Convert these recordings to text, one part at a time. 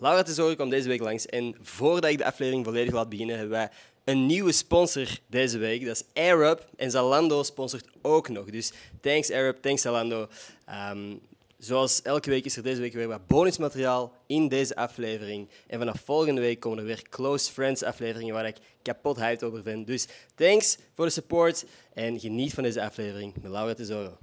Laura Tesoro kwam deze week langs en voordat ik de aflevering volledig laat beginnen, hebben wij een nieuwe sponsor deze week. Dat is Airup en Zalando sponsort ook nog. Dus thanks Airup, thanks Zalando. Ehm, zoals elke week is er deze week weer wat bonusmateriaal in deze aflevering. En vanaf volgende week komen er weer Close Friends afleveringen waar ik kapot hyped over ben. Dus thanks voor de support en geniet van deze aflevering met Laura Tesoro.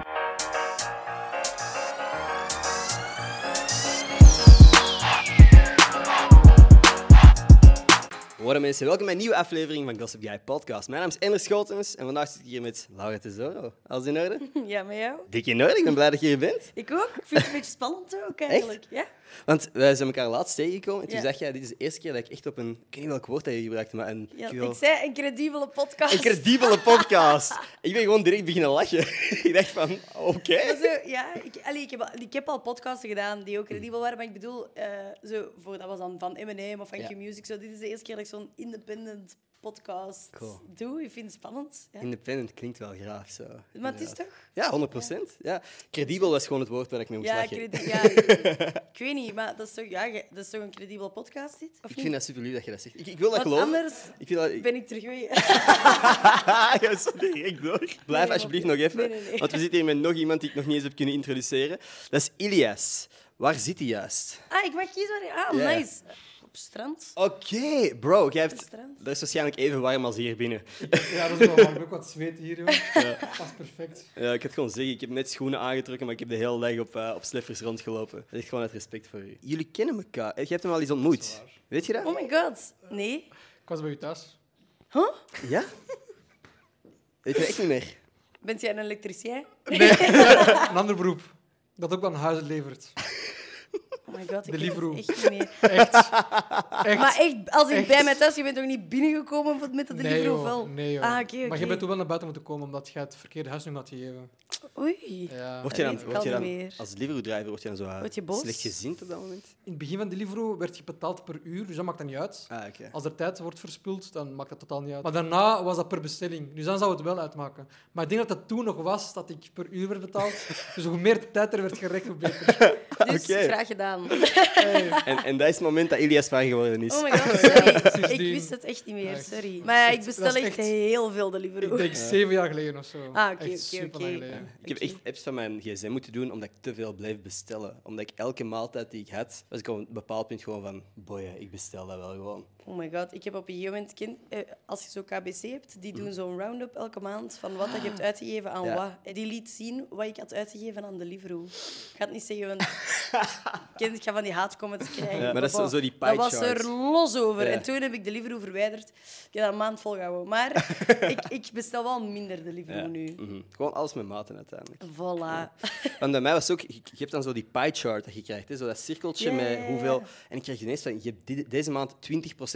Hoi mensen, welkom bij een nieuwe aflevering van Gossip Guy Podcast. Mijn naam is Ender Schotens en vandaag zit ik hier met Laura Tesoro. Alles in orde? Ja, met jou? Dik in orde, ik ben blij dat je hier bent. Ik ook. Ik vind het een beetje spannend ook eigenlijk. Ja. Want wij zijn elkaar laatst tegengekomen en toen Ja. zeg jij, dit is de eerste keer dat ik echt op een, ik weet niet welk woord dat je gebruikte, maar een, Ja, wil- ik zei een credibele podcast. een credibele podcast. ik ben gewoon direct beginnen lachen. ik dacht van, oké. Maar zo, ja, ik, allee, ik, heb al, ik heb al podcasten gedaan die ook Mm. credibel waren, maar ik bedoel, eh, zo, voor, dat was dan van Eminem of van Ja. Q-Music. Zo, dit is de eerste keer dat ik zo'n independent podcast Cool. Mm, doe. Ik vind het spannend. Ja. Independent klinkt wel graag zo. Maar het is toch... Ja, 100 procent. Ja. Credibel was gewoon het woord waar ik mee moest Ja, lachen. credi- ja, ik- ik weet niet, maar dat is toch, ja, ge- dat is toch een credibele podcast, dit? Of Ik niet? vind dat super lief dat je dat zegt. Ik, ik wil dat Want geloven. anders Ik wil dat, ben ik terug mee. ja, zo direct door. Blijf nee, alsjeblieft nog want- even, nee, nee, nee. want we zitten hier met nog iemand die ik nog niet eens heb kunnen introduceren. Dat is Ilias. Waar zit hij juist? Ah, ik mag kiezen waar... Ah, Ja. nice. Op strand. Oké, bro, jij hebt... Strand. Dat is waarschijnlijk even warm als hier binnen. Ja, dat is wel warm. Ik heb ook wat zweet hier, joh. Dat is perfect. Ja, ik had gewoon zeggen, ik heb net schoenen aangetrokken, maar ik heb de hele dag op, eh, op sleffers rondgelopen. Dat is echt gewoon uit respect voor u. Jullie kennen elkaar. Je hebt hem al eens ontmoet. Dat is waar. Weet je dat? Oh my god. Nee. Ik was bij u thuis. Huh? Ja? Weet je echt niet meer? Bent jij een elektricien? Een ander beroep. Dat ook aan huizen levert. Oh my god, ik De weet het Livroo. echt niet meer. Echt. Echt. Maar echt, als ik Echt? bij mij thuis... Je bent toch niet binnengekomen voor- met de nee, Deliveroo? joh. of wel? Nee, joh. Ah, oké, oké. Maar je bent toen wel naar buiten moeten komen, omdat je het verkeerde huisnummer had gegeven. Oei. Ja. Word je Dat dan, weet ik word je al dan niet meer. als Deliveroo-driver word je dan zo eh, Word je boos? slecht gezind op dat moment? In het begin van Deliveroo werd je betaald per uur, dus dat maakt dan niet uit. Ah, oké. Als er tijd wordt verspild, dan maakt dat totaal niet uit. Maar daarna was dat per bestelling. Dus dan zou het wel uitmaken. Maar ik denk dat dat toen nog was, dat ik per uur werd betaald. Dus hoe meer tijd er werd gerekt, hoe beter. Dus Oké. graag gedaan. Hey. En, en dat is het moment dat Ilias van geworden is. Oh my god, sorry. Ik Sindsdien. wist het echt niet meer, Echt. sorry. Maar ja, ik Dat is bestel echt echt- heel veel Ik Deliveroo. denk zeven jaar geleden of zo. Ah, oké, Echt oké, oké. superlang geleden. Ik heb echt apps van mijn gsm moeten doen omdat ik te veel bleef bestellen. Omdat ik elke maaltijd die ik had, was ik op een bepaald punt gewoon van... Boeien, ik bestel dat wel gewoon. Oh my god, ik heb op een gegeven moment... Kind, eh, als je zo KBC hebt, die doen zo'n round-up elke maand van wat dat je hebt uitgegeven aan Ja. wat. En die liet zien wat ik had uitgegeven aan Deliveroo. Ik ga het niet zeggen, want... kind, ik ga van die haatcomments krijgen. Ja, maar dat is bon, zo die Dat pie was er chart. los over. Ja. En toen heb ik Deliveroo verwijderd. Ik heb dat een maand volgehouden. Maar ik, ik bestel wel minder Deliveroo Ja. nu. Mhm. Gewoon alles met maten uiteindelijk. Voilà. Want bij mij was het ook... Je je hebt dan zo die pie chart dat je krijgt. Hè? Zo dat cirkeltje Ja, ja, met ja. hoeveel... En ik kreeg ineens van... Je hebt dit- deze maand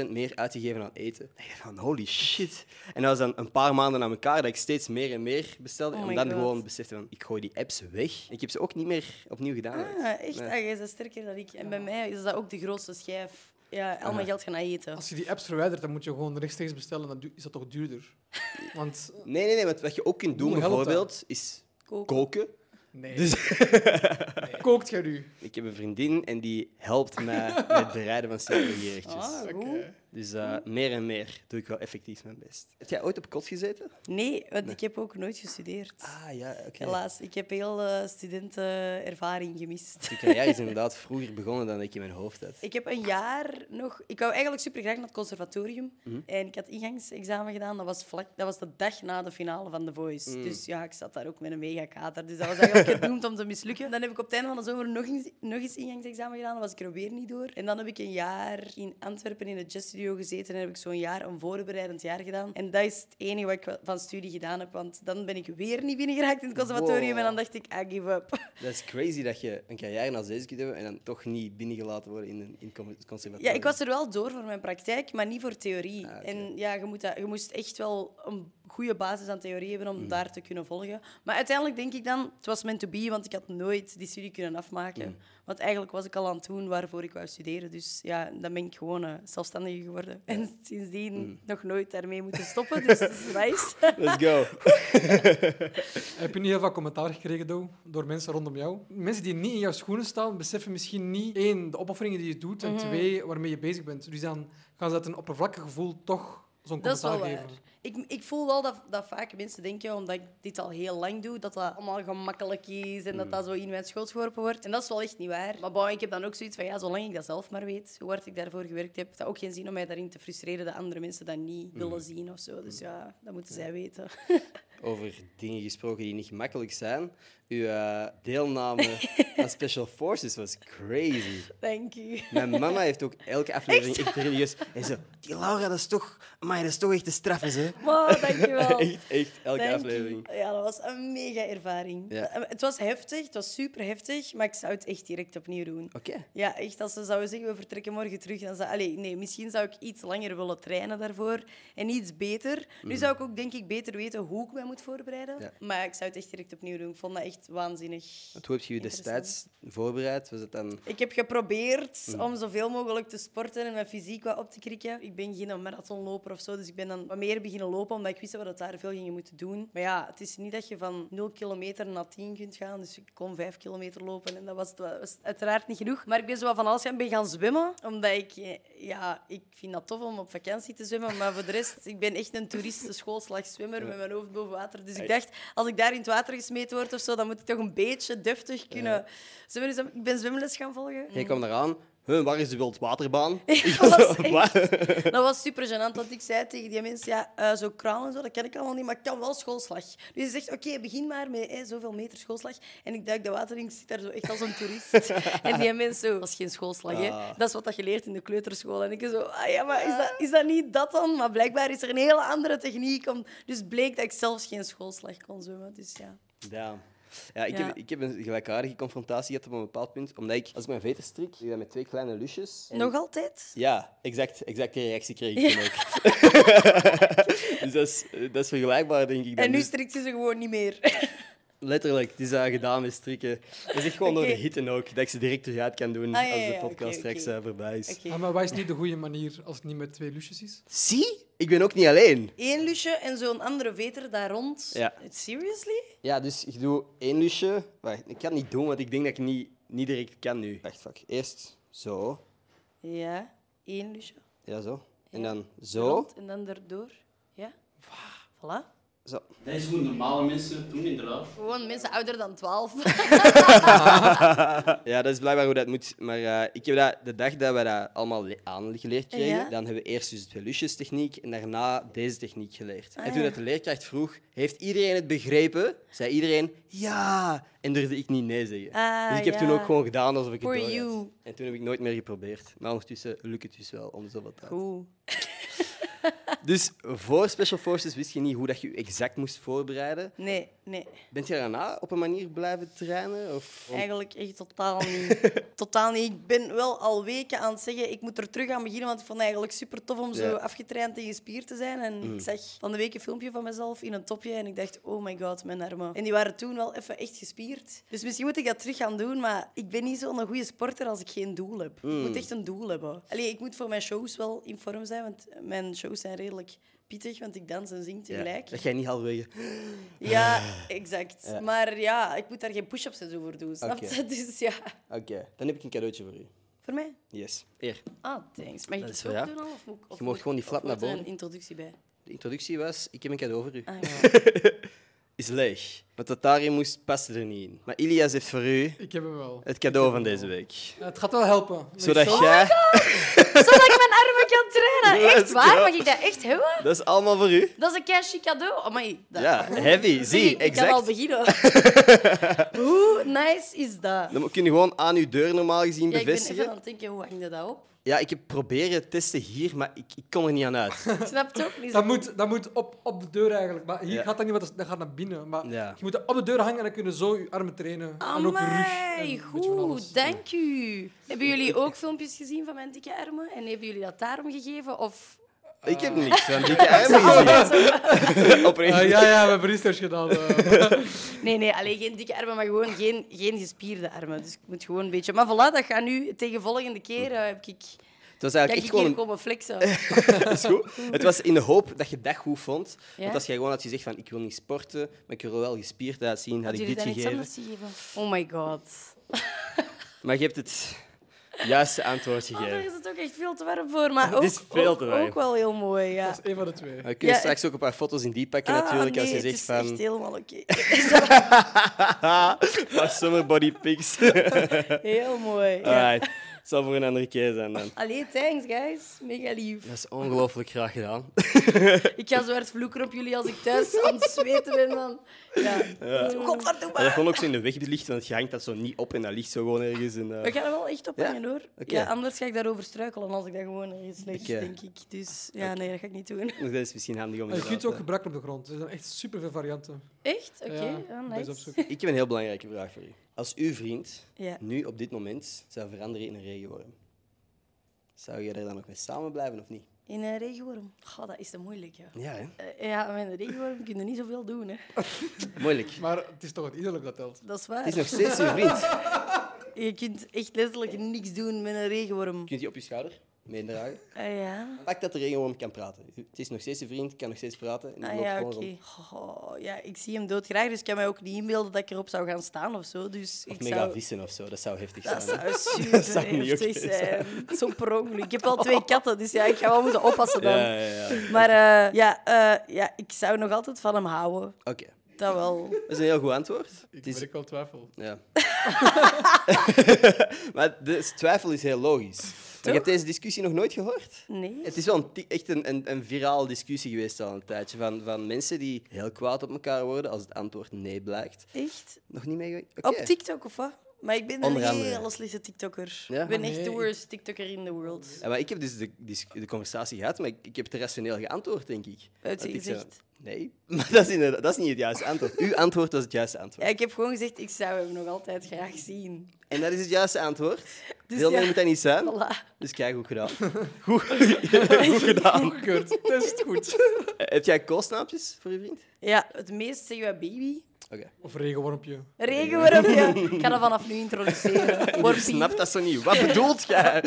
20% meer uitgegeven aan eten. En ik dacht van, holy shit. En dat was dan een paar maanden aan elkaar dat ik steeds meer en meer bestelde. Oh en my dan God. gewoon besefte van... Ik gooi die apps weg. Ik heb ze ook niet meer opnieuw gedaan. Ah, echt? Nee. Ah, jij bent sterker dan ik. En bij mij is dat ook de grootste schijf. Ja, al mijn geld gaan naar eten. Als je die apps verwijdert, dan moet je gewoon rechtstreeks bestellen. Dan du- is dat toch duurder? Want eh, Nee, nee, nee. Want wat je ook kunt doen, Hoe helpt dat? bijvoorbeeld, is Koken. koken. nee. Dus- Nee. Kookt jij nu? Ik heb een vriendin en die helpt mij met het bereiden van cerealiertjes. Ah, goed. Oké. Dus eh, meer en meer doe ik wel effectief mijn best. Heb jij ooit op kot gezeten? Nee, want ik heb ook nooit gestudeerd. Ah ja, oké. Helaas, ik heb heel eh, studentenervaring gemist. Je carrière is inderdaad vroeger begonnen dan ik in mijn hoofd had. Ik heb een jaar nog... Ik wou eigenlijk supergraag naar het conservatorium. En ik had ingangsexamen gedaan. Dat was, vlak, dat was de dag na de finale van The Voice. Dus ja, ik zat daar ook met een mega kater. Dus dat was eigenlijk gedoemd om te mislukken. Dan heb ik op het einde van de zomer nog eens, nog eens ingangsexamen gedaan. Dan was ik er weer niet door. En dan heb ik een jaar in Antwerpen in het Jazz Studio gezeten. En heb ik zo'n jaar een voorbereidend jaar gedaan. En dat is het enige wat ik wel- van studie gedaan heb. Want dan ben ik weer niet binnengeraakt in het conservatorium. Wow. En dan dacht ik, I give up. Dat is crazy dat je een carrière als deze kunt hebben en dan toch niet binnengelaten worden in een in het con- conservatorium. Ja, ik was er wel door voor mijn praktijk, maar niet voor theorie. Ah, oké. En ja, je, moet dat, je moest echt wel een goede basis aan theorie hebben Hmm. om daar te kunnen volgen. Maar uiteindelijk denk ik dan, het was meant to be, want ik had nooit die studie kunnen afmaken. Hmm. Want eigenlijk was ik al aan het doen waarvoor ik wou studeren. Dus ja, dan ben ik gewoon eh, zelfstandige geworden. En sindsdien Hmm. nog nooit daarmee moeten stoppen. Dus dat is nice. Let's go. Heb je niet heel veel commentaar gekregen though, door mensen rondom jou? Mensen die niet in jouw schoenen staan, beseffen misschien niet één, de opofferingen die je doet, en Mhm. twee, waarmee je bezig bent. Dus dan gaan ze uit een oppervlakkig gevoel toch zo'n Dat is commentaar wel geven. waar. Ik, ik voel wel dat, dat vaak mensen denken, omdat ik dit al heel lang doe, dat dat allemaal gemakkelijk is en dat dat zo in mijn schoot geworpen wordt. En dat is wel echt niet waar. Maar bon, ik heb dan ook zoiets van, ja, zolang ik dat zelf maar weet, hoe hard ik daarvoor gewerkt heb, heeft dat ook geen zin om mij daarin te frustreren dat andere mensen dat niet willen zien of zo. Dus ja, dat moeten zij weten. Over dingen gesproken die niet gemakkelijk zijn. Uw eh, deelname aan Special Forces was crazy. Thank you. Mijn mama heeft ook elke aflevering echt religieus. En zo, die Laura, dat is toch, maar dat is toch echt te straffen, hè? Wow, dankjewel. Echt, echt, elke Thank aflevering. you. Ja, dat was een mega ervaring. Ja. Eh, Het was heftig, het was super heftig, maar ik zou het echt direct opnieuw doen. Oké. Ja, echt, als ze zouden zeggen, we vertrekken morgen terug, dan zou... Allee, nee, misschien zou ik iets langer willen trainen daarvoor en iets beter. Nu zou ik ook, denk ik, beter weten hoe ik mij moet voorbereiden. Ja. Maar ik zou het echt direct opnieuw doen. Ik vond dat echt waanzinnig. Want hoe heb je je destijds voorbereid? Was het dan... Ik heb geprobeerd om zoveel mogelijk te sporten en mijn fysiek wat op te krikken. Ik ben geen marathonloper of zo, dus ik ben dan wat meer beginnen lopen, omdat ik wist dat we dat daar veel gingen moeten doen. Maar ja, het is niet dat je van 0 kilometer naar 10 kunt gaan, dus ik kon 5 kilometer lopen en dat was, dat was uiteraard niet genoeg. Maar ik ben zo wat van alles gaan, ben gaan zwemmen, omdat ik, eh, ja, ik vind dat tof om op vakantie te zwemmen, maar voor de rest, ik ben echt een toeristenscholslagzwemmer met mijn hoofd boven water. Dus ik dacht, als ik daar in het water gesmeten word of zo, dan moet ik toch een beetje deftig kunnen zwemmen. Dus ik ben zwemles gaan volgen. Jij kwam eraan. Huh, waar is de wildwaterbaan? Dat Mm. was, echt, dat was super gênant, want ik zei tegen die mensen, ja, eh, zo kraal en zo, dat ken ik allemaal niet, maar ik kan wel schoolslag. Dus ze zegt, oké, begin maar met eh, zoveel meter schoolslag. En ik duik de water in, ik zit daar zo echt als een toerist. en die mensen, zo, dat is geen schoolslag, Ah. hè. dat is wat dat je leert in de kleuterschool. En ik zo, ah ja, maar is dat, is dat niet dat dan? Maar blijkbaar is er een hele andere techniek. Om, dus bleek dat ik zelfs geen schoolslag kon zwemmen, dus ja. Damn. Ja, ik, Ja. Heb, ik heb een gelijkaardige confrontatie gehad op een bepaald punt. Omdat ik, als ik mijn veten strik, doe ik dat met twee kleine lusjes. En- Nog altijd? Ja, exact, exact die reactie kreeg ik toen ook. dus dat is, dat is vergelijkbaar, denk ik. Dan. En nu Dus strikt ze ze gewoon niet meer. letterlijk, het is daar gedaan met strikken. Dat is echt gewoon door Oké. de hitte ook, dat ik ze direct terug uit kan doen Ah, ja, als ja, de ja, podcast oké, straks oké. eh, voorbij is. Oké. Ja, Ah, maar wat is nu de goede manier als het niet met twee lusjes is? Zie, ik ben ook niet alleen. Eén lusje en zo'n andere veter daar rond. Ja. Seriously? Ja, dus ik doe één lusje. Wacht, ik kan het niet doen, want ik denk dat ik niet, niet direct kan nu. Wacht, fuck. Eerst zo. Ja, één lusje. Ja, zo. En Ja. dan zo. Rond en dan erdoor. Ja. Voilà. Zo. Dat is hoe normale mensen doen, inderdaad. Gewoon mensen ouder dan 12. Ja, dat is blijkbaar hoe dat moet. Maar eh, ik heb dat, de dag dat we dat allemaal le- aangeleerd kregen, Ja. dan hebben we eerst dus de lusjes techniek en daarna deze techniek geleerd. Ah, en toen ja. dat de leerkracht vroeg, heeft iedereen het begrepen? Zei iedereen ja. En durfde ik niet nee zeggen. Ah, dus ik heb toen ja. ook gewoon gedaan alsof ik For het door had. you. En toen heb ik nooit meer geprobeerd. Maar ondertussen lukt het dus wel om zo wat tijd. Goed. Dus voor Special Forces wist je niet hoe dat je je exact moest voorbereiden. Nee, nee. Bent je daarna op een manier blijven trainen? Of... Eigenlijk echt totaal niet. totaal niet. Ik ben wel al weken aan het zeggen, ik moet er terug aan beginnen, want ik vond het eigenlijk super tof om zo Ja. Mm. afgetraind en gespierd te zijn. En ik zag van de week een filmpje van mezelf in een topje en ik dacht, oh my god, mijn armen. En die waren toen wel even echt gespierd. Dus misschien moet ik dat terug gaan doen, maar ik ben niet zo'n goede sporter als ik geen doel heb. Ik Mm. moet echt een doel hebben. Allee, ik moet voor mijn shows wel in vorm zijn, want mijn shows zijn redelijk pittig, want ik dans en zing Ja, tegelijk. Dat jij niet halverwege... Ja, exact. Ja. Maar ja, ik moet daar geen push-ups en zo voor doen, snap je? Oké. Dus ja, Oké, dan heb ik een cadeautje voor u. voor mij. Yes. Eer. Ah, thanks. Mag ik Dat het is ook wel, ja. doen al? Of moet, ik- of Je mag gewoon die of flap moet naar er een boven. introductie bij. De introductie was, ik heb een cadeau voor u. Ah, ja. Is leeg. Wat dat daarin moest, paste er niet in. Maar Ilias heeft voor u Ik heb hem wel. het cadeau van deze week. Ja, het gaat wel helpen. Met Zodat show- jij... Zodat ik mijn armen kan trainen. Echt Let's waar? go. Mag ik dat echt hebben? Dat is allemaal voor u. Dat is een cashy cadeau. Amai, dat... Ja, heavy. Zie, Zie, ik kan al exact. beginnen. Hoe nice is dat? Dan kun je gewoon aan uw deur normaal gezien Ja, ik ben even bevestigen. aan het denken, hoe hang je dat op? Ja, ik heb proberen testen hier, maar ik, ik kon er niet aan uit. Ik snap het ook niet. Dat moet, dat moet op, op de deur eigenlijk. Maar hier Ja. gaat dat niet, want dat- dat gaat naar binnen. Maar Ja. je moet dat op de deur hangen en dan kunnen zo je armen trainen. en ook je rug. en Amai, weet je van alles. goed, dank u. Hebben jullie ook filmpjes gezien van mijn dikke armen? En hebben jullie dat daarom gegeven? Of Ik heb niks van dikke armen gezien. Oprecht. Eh, ja, ja, we hebben research gedaan. eh. Nee, nee, alleen geen dikke armen, maar gewoon geen, geen gespierde armen. Dus ik moet gewoon een beetje... Maar voilà, dat gaat nu tegen volgende keer. eh, heb ik... Het was Ga eigenlijk ik echt hier gewoon een komen flexen? is goed. Het was in de hoop dat je dat goed vond. Ja? Want als jij gewoon had gezegd van ik wil niet sporten, maar ik wil er wel gespierd uitzien, had Had ik jullie dit dan iets gegeven. anders gegeven? Oh my god. Maar je hebt het juiste antwoord Oh, daar gegeven. is het ook echt veel te warm voor. Maar Het ook, is veel ook- te warm. ook wel heel mooi, ja. Dat is één van de twee. We kunnen Ja, straks ook een paar foto's in die pakken Ah, natuurlijk, als nee, je het zegt is van... echt helemaal oké. Haha, maar summer body pics. Heel mooi. Ja. Alright, het zal voor een andere keer zijn dan. Allee, thanks, guys. Mega lief. Dat is ongelooflijk graag gedaan. Ik ga zo hard vloeken op jullie als ik thuis aan het zweten ben. Dan. Ja. Godverdomme. Maar dat kon ook zo in de weg licht, want je hangt dat zo niet op en dat ligt zo gewoon ergens. En, eh, We gaan er wel echt op Ja? hangen, hoor. Oké. eh, Ja, anders ga ik daarover struikelen als ik dat gewoon ergens leg, Oké. denk ik. Dus ja, nee, dat ga ik niet doen. Dus Dat is misschien handig om Maar te je kunt laten. het ook gebruiken op de grond. Er zijn echt superveel varianten. Echt? Oké, Ja, ah, moet eens nice. opzoeken. Ik heb een heel belangrijke vraag voor u. Als uw vriend Ja. nu op dit moment zou veranderen in een regenworm, zou je er dan nog mee samen blijven of niet? In een regenworm? Goh, dat is te moeilijk, ja. Ja, hè? Eh, Ja, met een regenworm kun je niet zoveel doen, hè. Moeilijk. Maar het is toch het innerlijk dat telt. Dat is waar. Het is nog steeds uw vriend. Je kunt echt letterlijk niks doen met een regenworm. Kunt je op je schouder meendragen? Ah, ja. Pak dat de regenworm kan praten. Het is nog steeds uw vriend, kan nog steeds praten. En die Ah, loopt ja, gewoon oké. rond. Goh, ja, ik zie hem doodgraag, dus ik kan mij ook niet inbeelden dat ik erop zou gaan staan of zo. Dus Of ik mega zou... vissen of zo, dat zou heftig Dat zijn. hè? zou super zou niet heftig oké zijn. zijn. Zo per ongeluk. Ik heb al twee katten, dus ja, ik ga wel moeten oppassen dan. Ja, ja, ja. Maar eh, ja, eh, ja, ik zou nog altijd van hem houden. Oké, Dat wel. dat is een heel goed antwoord. Ik Het is- merk wel twijfel. Ja. maar de twijfel is heel logisch. Maar je hebt deze discussie nog nooit gehoord? Nee. Het is wel een ti- echt een, een, een viraal discussie geweest al een tijdje. Van, van mensen die heel kwaad op elkaar worden als het antwoord nee blijkt. Echt? Nog niet meegewerkt? Oké. Op TikTok of wat? Maar ik ben een Onder andere. hele slechte TikToker. Ja? Ik ben Ah, echt nee, de ik- worst TikToker in the world. Ja, maar ik heb dus de, dis- de conversatie gehad, maar ik, ik heb het rationeel geantwoord, denk ik. Uit je Want ik zei, gezicht. Nee, maar dat is, inderdaad- dat is niet het juiste antwoord. Uw antwoord was het juiste Ja, antwoord. ik heb gewoon gezegd, ik zou hem nog altijd graag zien. En dat is het juiste antwoord. Dus Veel meer ja. moet dat niet zijn. Voilà. Dus kijk, goed gedaan. Goed, goed gedaan. Goedgekeurd. Test goed. Heb jij koolsnaapjes voor je vriend? Ja, het meest zeggen wij baby. Oké. Of regenwormpje. Regenwormpje. Ik ga dat vanaf nu introduceren. Ik Wormpie. snap dat zo niet. Wat bedoelt jij?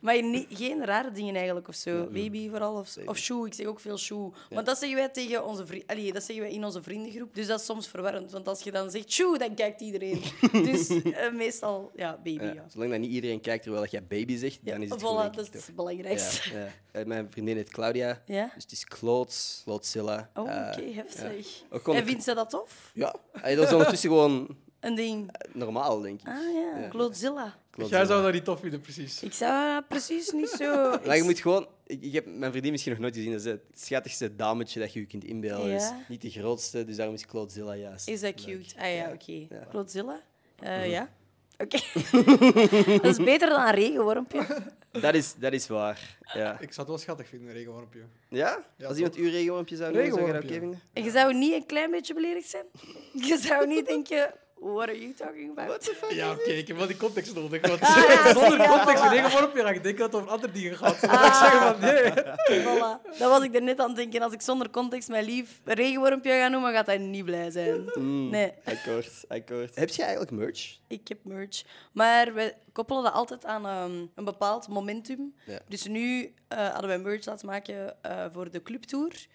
Maar ni- geen rare dingen eigenlijk of zo. Baby vooral. Of, zo. of shoe. Ik zeg ook veel shoe. Want dat zeggen wij tegen onze vrienden. Allee, dat zeggen wij in onze vriendengroep. Dus dat is soms verwarrend. Want als je dan zegt shoe, dan kijkt iedereen. dus eh, meestal, ja, baby. Ja. Ja, zolang dat niet iedereen kijkt terwijl jij baby zegt, dan is het voilà, goed, denk ik, dat is toch? het belangrijkste. Ja, ja. Eh, Mijn vriendin heet Claudia. Ja? Dus het is Kloots, Klootzilla. Oh, Eh, Oh, oké, heftig. Ook gewoon- En vindt ze dat tof? Ja, Hey, dat is ondertussen gewoon Een ding. Eh, normaal, denk ik. Ah ja, Gloodzilla. Klootzilla. Jij zou dat niet tof vinden, precies. Ik zou haar precies niet zo... Maar je Ik- moet gewoon... Ik, ik heb mijn vriendin misschien nog nooit gezien. Dat is het schattigste dametje dat je je kunt inbeelden. Ja. Dus niet de grootste, dus daarom is Klootzilla juist. Is dat cute? Ah ja, oké. Ja. Mhm. Godzilla? Eh, ja. Oké. dat is beter dan een regenwormpje. Dat is, dat is waar, ja. Ik zou het wel schattig vinden, een regenwormpje. Ja? Ja, Als iemand uw regenwormpje zou noemen, zou je dat oké Regenwormpje. vinden? En je zou niet een klein beetje beledigd zijn? Je zou niet denken, what are you talking about? Ja, oké, ik heb wel die context nodig. Want Ah, zonder context een regenwormpje, dan denk ik dat het over andere dingen gaat. Dan ga ik zeggen van, nee. Voilà. Dat was ik er net aan het denken. Als ik zonder context mijn lief een regenwormpje ga noemen, gaat hij niet blij zijn. Mm. Nee, Akkoord, akkoord. Heb jij eigenlijk merch? ik heb merch. Maar we koppelen dat altijd aan ehm, een bepaald momentum. Ja. Dus nu eh, hadden wij merch laten maken eh, voor de clubtour.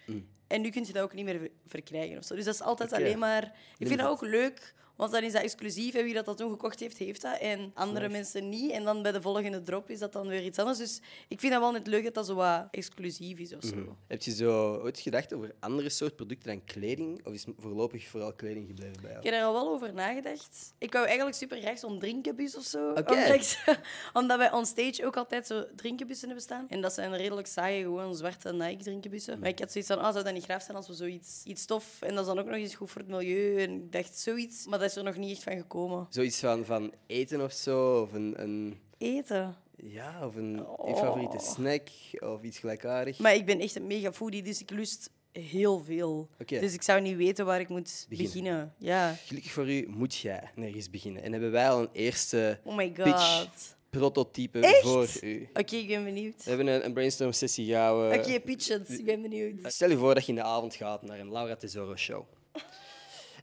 En nu kun je dat ook niet meer ver- verkrijgen. Of zo. Dus dat is altijd Mm. Oké. alleen maar... Ik vind dat ook leuk, want dan is dat exclusief. En wie dat, dat toen gekocht heeft, heeft dat. En andere mensen niet. En dan bij de volgende drop is dat dan weer iets anders. Dus ik vind dat wel net leuk dat dat zo wat exclusief is of zo. Heb je zo ooit gedacht over andere soort producten dan kleding? Of is voorlopig vooral kleding gebleven bij jou? Ik heb er al wel over nagedacht. Ik wou eigenlijk super graag zo'n drinkenbus of zo. Oké. Omdat, ik zo- omdat wij on stage ook altijd zo drinkenbussen hebben staan. En dat zijn redelijk saaie, gewoon zwarte Mm. Nike-drinkenbussen. Maar ik had zoiets van, ah, zou dat niet graaf zijn als we zoiets iets tof... En dat is dan ook nog eens goed voor het milieu. En ik dacht, zoiets. Maar dat is er nog niet echt van gekomen. Zoiets van, van eten of zo? Of een, een, Eten. ja, of een je favoriete snack? Of iets gelijkaardigs? Oh. Maar ik ben echt een mega foodie, dus ik lust heel veel. Oké. Dus ik zou niet weten waar ik moet Beginnen. beginnen. Ja. Gelukkig voor u moet jij nergens beginnen. En hebben wij al een eerste Oh my god. pitch prototype Echt? voor u. Oké, ik ben benieuwd. We hebben een, een brainstorm sessie gehouden. Oké, pitch het. Ik ben benieuwd. Stel je voor dat je in de avond gaat naar een Laura Tesoro show.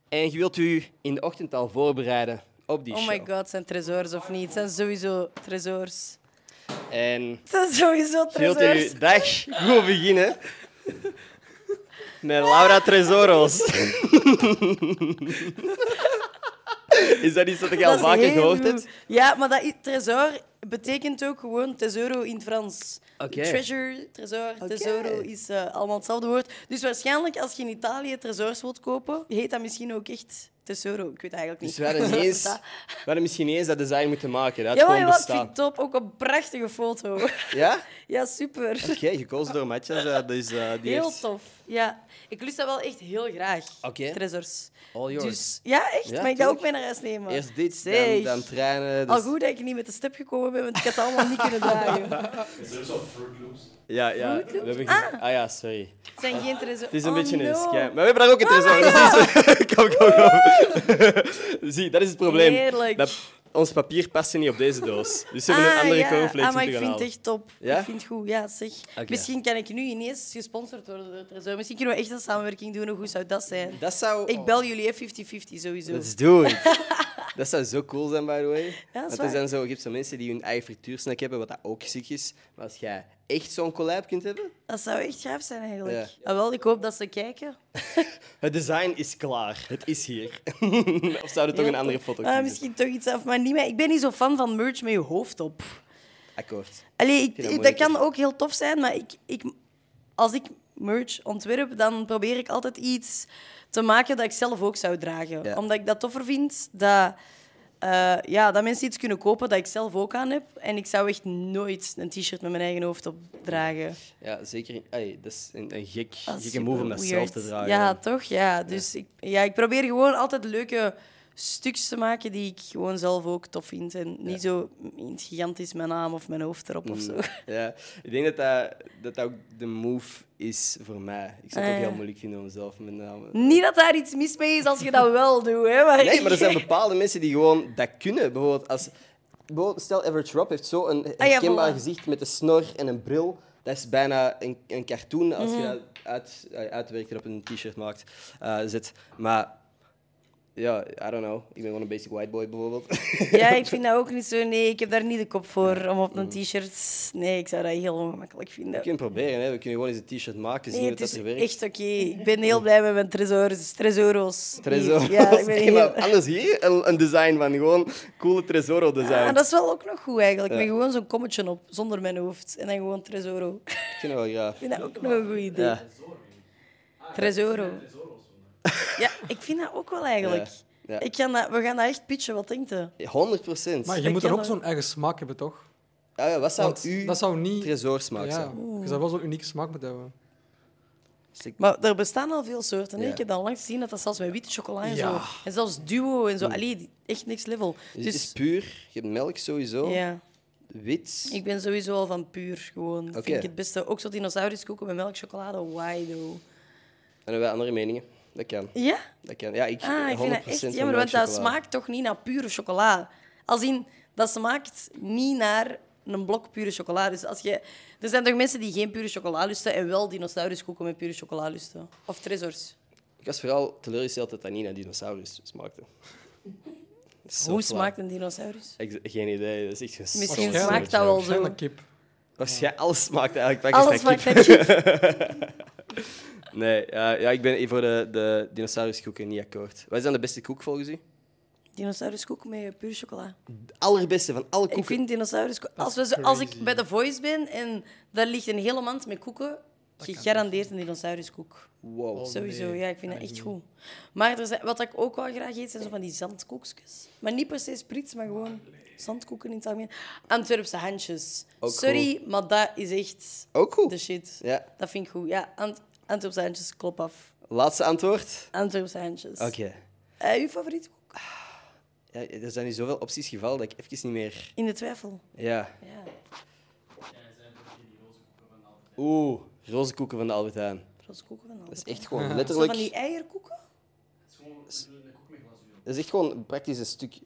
En je wilt u in de ochtend al voorbereiden op die Oh show. my god, zijn tresors of niet? Het zijn sowieso tresors. En Het zijn sowieso je wilt uw tresors. dag goed beginnen met Laura Tresoros. Is dat iets dat ik al Dat is vaker heel gehoord goed. heb? Ja, maar dat i- tresor betekent ook gewoon tesoro in het Frans. Oké. Treasure, tresor, tesoro is eh, allemaal hetzelfde woord. Dus waarschijnlijk als je in Italië tresors wilt kopen, heet dat misschien ook echt tesoro. Ik weet eigenlijk niet. Dus we hadden, niet eens, we hadden misschien niet eens dat design moeten maken. Dat had Ja, maar gewoon wat vind ik bestaan. top. Ook een prachtige foto. Ja? ja, super. Oké, gekozen door Matjas. eh, dus, eh, die Heel heeft... tof. Ja, ik lust dat wel echt heel graag. Oké. Tresors. All yours. Dus ja, echt. Ja, maar ik ga ook tuurlijk. mee naar huis nemen. Eerst dit, dan, Zeg. dan trainen. dus- Al goed dat ik niet met de step gekomen ben, want ik had het allemaal niet kunnen draaien. Is er zo'n Fruit Loops? Ja, ja. Fruit Loops? We hebben ge- ah. ja, sorry. Het zijn geen tresors. Het is een Oh, beetje een no. Ah! scam. Maar we hebben daar ook een tresor. Dus die is- kom, kom, kom. Zie, dat is het probleem. Heerlijk. Dat, ons papier paste niet op deze doos. Dus we hebben een andere cornflakes ah, maar moeten ik vind gaan het halen. echt top. Ja? Ik vind het goed, ja zeg. Oké. Misschien kan ik nu ineens gesponsord worden door Tresor. Misschien kunnen we echt een samenwerking doen. Hoe goed zou dat zijn? Dat zou... Ik bel jullie hè, 50-50 sowieso. Let's do it. dat zou zo cool zijn, by the way. Want er waar. zijn zo, je hebt zo mensen die hun eigen frituursnack hebben, wat dat ook ziek is. Maar als jij echt zo'n collab kunt hebben... Dat zou echt gaaf zijn eigenlijk. Ah, wel, ik hoop dat ze kijken. Het design is klaar. Het is hier. of zouden we toch een andere foto Ah, kunnen misschien toch iets af, maar niet meer. Ik ben niet zo fan van merch met je hoofd op. Akkoord. Allee, ik, vind dat ik- dat moeilijk, kan ook heel tof zijn, maar ik, ik, als ik merch ontwerp, dan probeer ik altijd iets te maken dat ik zelf ook zou dragen. Ja. Omdat ik dat toffer vind, dat, eh, ja, dat mensen iets kunnen kopen dat ik zelf ook aan heb. En ik zou echt nooit een t-shirt met mijn eigen hoofd op dragen. Ja, zeker. Allee, dat is een, een gek, Dat is gekke move om dat zelf Ah, superweird. te dragen. Ja, toch? Ja. Dus Ik, ja, ik probeer gewoon altijd leuke stukjes te maken die ik gewoon zelf ook tof vind. En niet zo in het gigantisch mijn naam of mijn hoofd erop Mm. of zo. Ja, ik denk dat dat, dat dat ook de move is voor mij. Ik zou het Ah, ook ja. heel moeilijk vinden om zelf mijn naam... Niet dat daar iets mis mee is als je dat wel doet, hè? Maar Nee, maar er zijn bepaalde mensen die gewoon dat kunnen. Bijvoorbeeld, als, bijvoorbeeld stel, Average Rob heeft zo'n herkenbaar Ah, voilà. gezicht met een snor en een bril. Dat is bijna een, een cartoon als Mhm. je dat uit, uitwerkt en op een t-shirt maakt, eh, zet. Maar ja, I don't know. Ik ben gewoon een basic white boy bijvoorbeeld. Ja, ik vind dat ook niet zo. Nee, ik heb daar niet de kop voor om op Mm. een t-shirt. Nee, ik zou dat heel ongemakkelijk We vinden. kunnen het proberen, hè. we kunnen gewoon eens een t-shirt maken, zien Nee, wat het dus dat is er werkt. echt oké. Ik ben heel blij met mijn tresors, tresoros. Tresor. Ja, ik ben Oké, maar heel... anders hier een, een design van gewoon coole Tresoro design. Ah, dat is wel ook nog goed eigenlijk. Ja. Met gewoon zo'n kommetje op, zonder mijn hoofd. En dan gewoon tresoro. Ik Ik vind dat wel graag. vind dat ook nog een goed idee. Ja. Tresoro. Ja, ik vind dat ook wel eigenlijk. Ja, ja. Ik kan dat, we gaan dat echt pitchen, wat denkt je? 100 procent. Ah, Maar je Dat moet dan kan ook wel. zo'n eigen smaak hebben, toch? wat zou Want u dat zou niet... tresorsmaak ja, zijn? Dus je zou wel zo'n unieke smaak moeten hebben. Maar er bestaan al veel soorten. hè. Ja. Ik heb al lang gezien dat dat zelfs met witte chocola en Ja. zo. En zelfs duo en zo. Allee, die- echt niks level. Dus het is Dus puur, je hebt melk sowieso, ja, wit. ik ben sowieso al van puur gewoon. Dat Oké. Vind ik het beste. Ook zo dinosauruskoeken met melk, chocolade. Why though? En dan wel andere meningen. Dat kan. Ja? Dat kan. Ja, ik, Ah, 100 ik vind dat echt van jammer, want dat melkchocola. smaakt toch niet naar pure chocola. Als in, dat smaakt niet naar een blok pure chocola. Dus als je... Er zijn toch mensen die geen pure chocola lusten en wel dinosauruskoeken met pure chocola lusten? Of tresors? Ik was vooral teleurgesteld dat dat niet naar dinosaurus smaakte. Zo Hoe flauw. smaakt een dinosaurus? Ik- Geen idee, dat is echt een Misschien zo'n smaakt dat wel zo. Waarschijnlijk kip. Waarschijnlijk, alles smaakt eigenlijk. Pak Alles eens naar smaakt kip. naar chip. Nee, eh, ja, ik ben voor de, de dinosauruskoeken niet akkoord. Wat is dan de beste koek volgens u? Dinosauruskoek met puur chocola. De allerbeste van alle Ik koeken. vind dinosaurus. Als, we zo, als ik bij The Voice ben en daar ligt een hele mand met koeken, gegarandeerd een dinosauruskoek. Wow. Sowieso, nee. ja, ik vind dat echt goed. Maar er zijn, wat ik ook wel graag eet, zijn zo van die zandkoekjes. Maar niet per se sprits, maar Ah, gewoon zandkoeken in het algemeen. Antwerpse handjes. Ook Sorry, maar dat is echt Ook goed. de shit. Ja, Dat vind ik goed. Ja, Ant- Antwerpse handjes, klop af. laatste antwoord. Antwerpse handjes. Oké. Eh, uw favoriete koek? Ja, Dus- er zijn nu zoveel opties gevallen dat ik even niet meer... In de twijfel. Ja. Ja. Oeh, roze koeken van de Albert Heijn. Roze koeken van Dat is Albert echt gewoon Zo van letterlijk... die eierkoeken? Dat is echt gewoon praktisch een stuk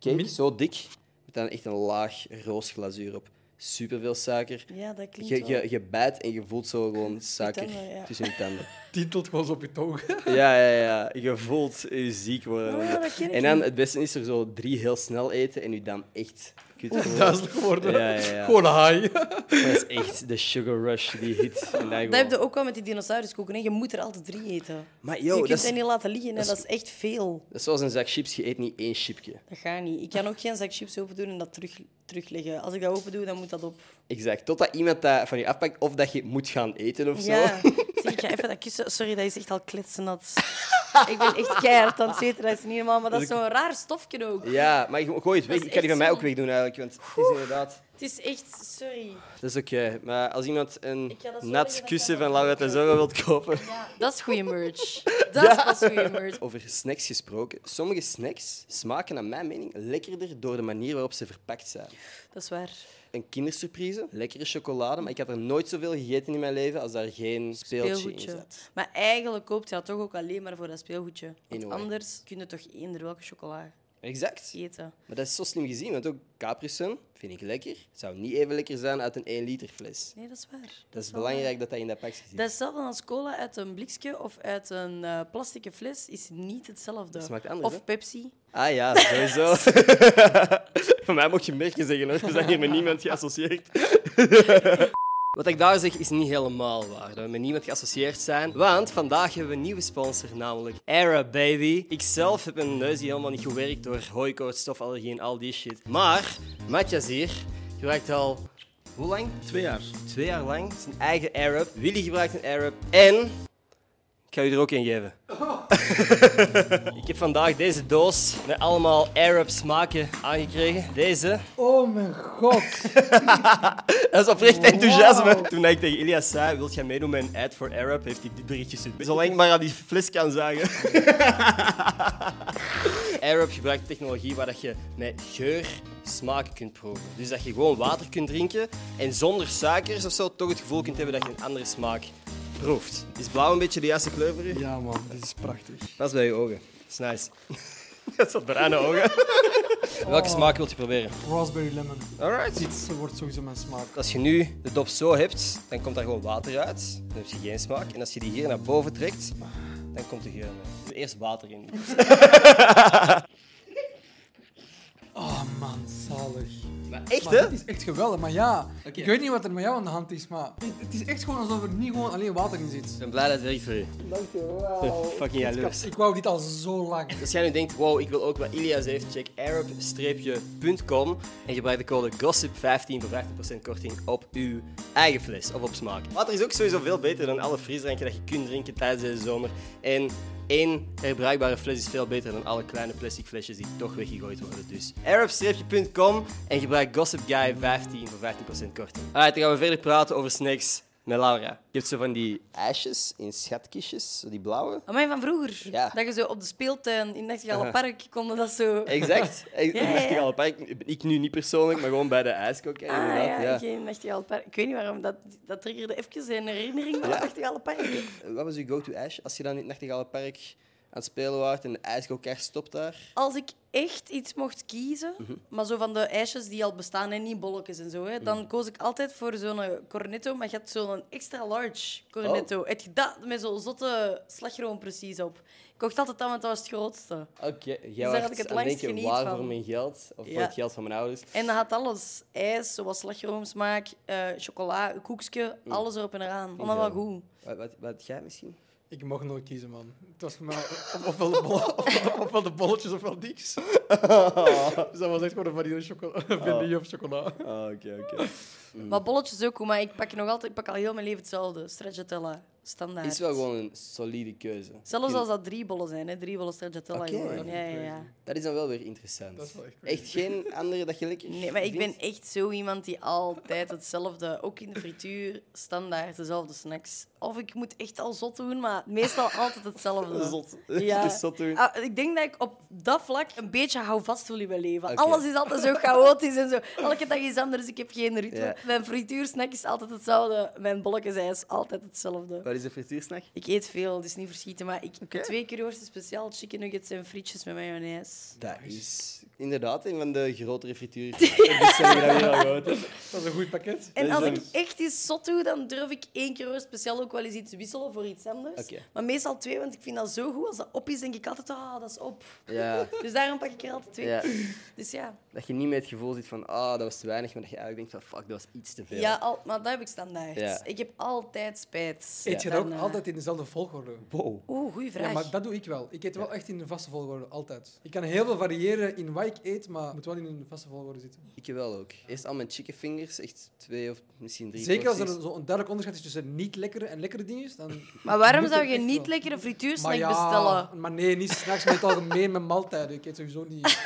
cake, Min- zo dik. Met dan echt een laag roos glazuur op. Superveel suiker. Ja, dat klinkt Je, wel. je, je bijt en je voelt zo gewoon suiker tanden, ja. tussen je tanden. Tintelt gewoon zo op je togen. Ja, ja, ja. Je voelt je ziek worden. Ah, dat ken ik en dan niet. het beste is er zo drie heel snel eten en je dan echt kut Oh, worden. Duizelig worden. Ja, ja, ja. Gewoon haai. Dat is echt de sugar rush die hit. En dan Dat gewoon- heb je ook wel met die dinosauruskoeken. Hè. Je moet er altijd drie eten. Maar je yo, kunt dat is, dat niet laten liggen. hè. dat Dat is- is, echt veel. dat is zoals een zak chips. Je eet niet één chipje. Dat gaat niet. Ik kan ook geen zak chips open doen en dat terug, terugleggen. Als ik dat open doe, dan moet dat op. Exact. Totdat iemand dat van je afpakt of dat je moet gaan eten of zo. Ja. Zie, ik ga even dat kussen. Sorry, dat is echt al klitsenat. ik ben echt keihard aan het zitten. Dat is niet normaal. Maar dat is zo'n raar stofje ook. Ja, maar ik- gooi het weg. is Ik kan die van echt mij ook zo. wegdoen eigenlijk. Want het is inderdaad. Het is echt... Sorry. Dat is oké. Maar als iemand een Ik ga dat zo nat leggen dat kussen ik van dat Laura Tesoro wilt kopen. Dat is goede merch. Dat is pas goede merch. Over snacks gesproken. Sommige snacks smaken, naar mijn mening, lekkerder door de manier waarop ze verpakt zijn. Dat is waar. Een kindersurprise, lekkere chocolade, maar ik had er nooit zoveel gegeten in mijn leven als daar geen speeltje in Speelgoedje. zat. Maar eigenlijk koopt je dat toch ook alleen maar voor dat speelgoedje. Want In a way. anders kun je toch eender welke chocola Exact. eten. Maar dat is zo slim gezien, want ook Capricen vind ik lekker. zou niet even lekker zijn uit een 1 liter fles. Nee, dat is waar. Dat, Dat is wel belangrijk dat dat in dat pakje zit. waar. Dat is hetzelfde als cola uit een blikje of uit een eh plastic fles is niet hetzelfde. Dat smaakt anders, Of hè? Pepsi. Ah ja, sowieso. Voor mij mocht je merken zeggen hoor, er zijn hier met niemand geassocieerd. Wat ik daar zeg is niet helemaal waar, dat we met niemand geassocieerd zijn. Want vandaag hebben we een nieuwe sponsor, namelijk Era Baby. Ikzelf heb mijn neus die helemaal niet gewerkt door hooikoorts, stofallergie en al die shit. Maar Matthias hier gebruikt al, hoe lang? Twee jaar. Twee jaar lang zijn eigen Arab. Willy gebruikt een Arab. En ik ga u er ook een geven. ik heb vandaag deze doos met allemaal Arab smaken aangekregen. Deze. Oh mijn god. Dat is oprecht enthousiasme. Toen ik tegen Ilias zei, wilt jij meedoen met een ad voor Arab, heeft hij dit berichtje gestuurd. Zolang ik maar aan die fles kan zagen. Arab gebruikt technologie waar dat je met geur smaken kunt proeven. Dus dat je gewoon water kunt drinken en zonder suikers of zo toch het gevoel kunt hebben dat je een andere smaak proeft. Is blauw een beetje de juiste kleur voor u? Ja man, dit is prachtig. Pas bij je ogen. Dat is nice. Dat is wat bruine ogen. Welke smaak wilt je proberen? Raspberry lemon. Alright, ziet Ze wordt sowieso mijn smaak. als je nu de dop zo hebt, dan komt daar gewoon water uit. Dan heb je geen smaak. En als je die hier naar boven trekt, dan komt er geur mee. Dus eerst water in. Oh man, zalig. Maar echt, Maar hè? dit is echt geweldig, maar ja. Ik weet niet wat er met jou aan de hand is, maar het, het is echt gewoon alsof er niet gewoon alleen water in zit. Ik ben blij dat het werkt voor u. Dankjewel. Fucking jaloers. Ik wou dit al zo lang. Als jij nu denkt, wow, ik wil ook wat Ilias heeft, check arab-.com en gebruik de code GOSSIP15 voor 15% korting op uw eigen fles of op smaak. Water is ook sowieso veel beter dan alle frisdranken dat je kunt drinken tijdens deze zomer. En één herbruikbare fles is veel beter dan alle kleine plastic flesjes die toch weggegooid worden. Dus arab-.com en gebruik GossipGuy15 voor 15% korting. Alright, dan gaan we verder praten over snacks met Laura. Je hebt zo van die ijsjes in schatkistjes, zo die blauwe. Amai, van vroeger. Ja. Dat je zo op de speeltuin in Nachtigale Park kon dat zo... Exact. Ik Ja, ja, dacht ja. al, pak, ik- ik nu niet persoonlijk, maar gewoon bij de ijskok. hè, Ah inderdaad, ja, ja. oké, Nachtigale Park. Ik weet niet waarom, dat, dat triggerde even een herinnering aan Ja. Nachtigale Park. Wat was uw go-to ijsje als je dan in het Nachtigale Park aan het spelen waart en de ijskokker stopt daar? Als ik echt iets mocht kiezen, Mhm. maar zo van de ijsjes die al bestaan en niet bolletjes en zo, hè, Mhm. dan koos ik altijd voor zo'n eh, cornetto, maar je had zo'n extra large cornetto. Oh. Het je dat met zo'n zotte slagroom precies op. Ik kocht altijd dat, want dat was het grootste. Oké, jij daar was had ik het aan langst het denken geniet waar van. voor mijn geld, of voor Ja. het geld van mijn ouders. En dat had alles. IJs, zoals slagroomsmaak, eh chocola, een koekje, Mm. alles erop en eraan. Allemaal wel goed. Wat, wat, wat jij misschien? Ik mocht nooit kiezen, man. Het was voor mij of- ofwel de, bollen, ofwel, ofwel de bolletjes ofwel niks. Dus dat was echt gewoon een vanille, chocola, Ah. vanille of chocola. Oh, oké, oké. Mm. Maar bolletjes ook goed, maar ik pak nog altijd, ik pak al heel mijn leven hetzelfde. Stracciatella, standaard. Is wel gewoon een solide keuze. Zelfs Ik- als dat drie bollen zijn, hè. drie bollen stracciatella. Oké. gewoon. Dat Ja, ja, ja. Dat is dan wel weer interessant. Dat is wel echt crazy. echt geen andere dat je lekker Nee, maar ik ben vindt? echt zo iemand die altijd hetzelfde, ook in de frituur, standaard dezelfde snacks. Of ik moet echt al zot doen, maar meestal altijd hetzelfde. Zot. Ja. Zot doen. Ah, ik denk dat ik op dat vlak een beetje houvast wil in mijn leven. Oké. Alles is altijd zo chaotisch en zo. Elke dag is anders, ik heb geen ritme. Ja. Mijn frituursnack is altijd hetzelfde, mijn bolletjes is altijd hetzelfde. Wat is de frituursnack? Ik eet veel, dus niet verschieten, maar ik twee keer speciaal chicken nuggets en frietjes met mayonaise. Dat is Inderdaad, een van de grotere frituur. Dus zijn we dat weer al gehoord hebben. Dat is een goed pakket. En Dat als is ik echt iets zot doe, dan durf ik één keer speciaal ook wel eens iets wisselen voor iets anders. Oké. Maar meestal twee, want ik vind dat zo goed. Als dat op is, denk ik altijd, ah, dat is op. Ja, Dus daarom pak ik er altijd twee. ja, Dus ja, dat je niet met het gevoel zit van, ah, dat was te weinig, maar dat je eigenlijk denkt van, fuck, dat was iets te veel. ja al, maar dat heb ik standaard. Ja. Ik heb altijd spijt. Eet je dat ook Daarna. altijd in dezelfde volgorde? Wow. Oeh, goeie vraag. Ja, maar dat doe ik wel. Ik eet wel echt in een vaste volgorde, altijd. Ik kan heel veel variëren in wat ik eet, maar het moet wel in een vaste volgorde zitten. Ik wel ook. Eerst al mijn chicken fingers, echt twee of misschien drie Zeker als er porties. een- zo'n duidelijk onderscheid is tussen niet lekkere en lekkere dingen, dan... Maar waarom moet zou het je echt niet wel. lekkere frituursnack Maar ja, bestellen? maar nee, niet s'nachts, maar in het algemeen met maaltijden. Ik eet sowieso niet...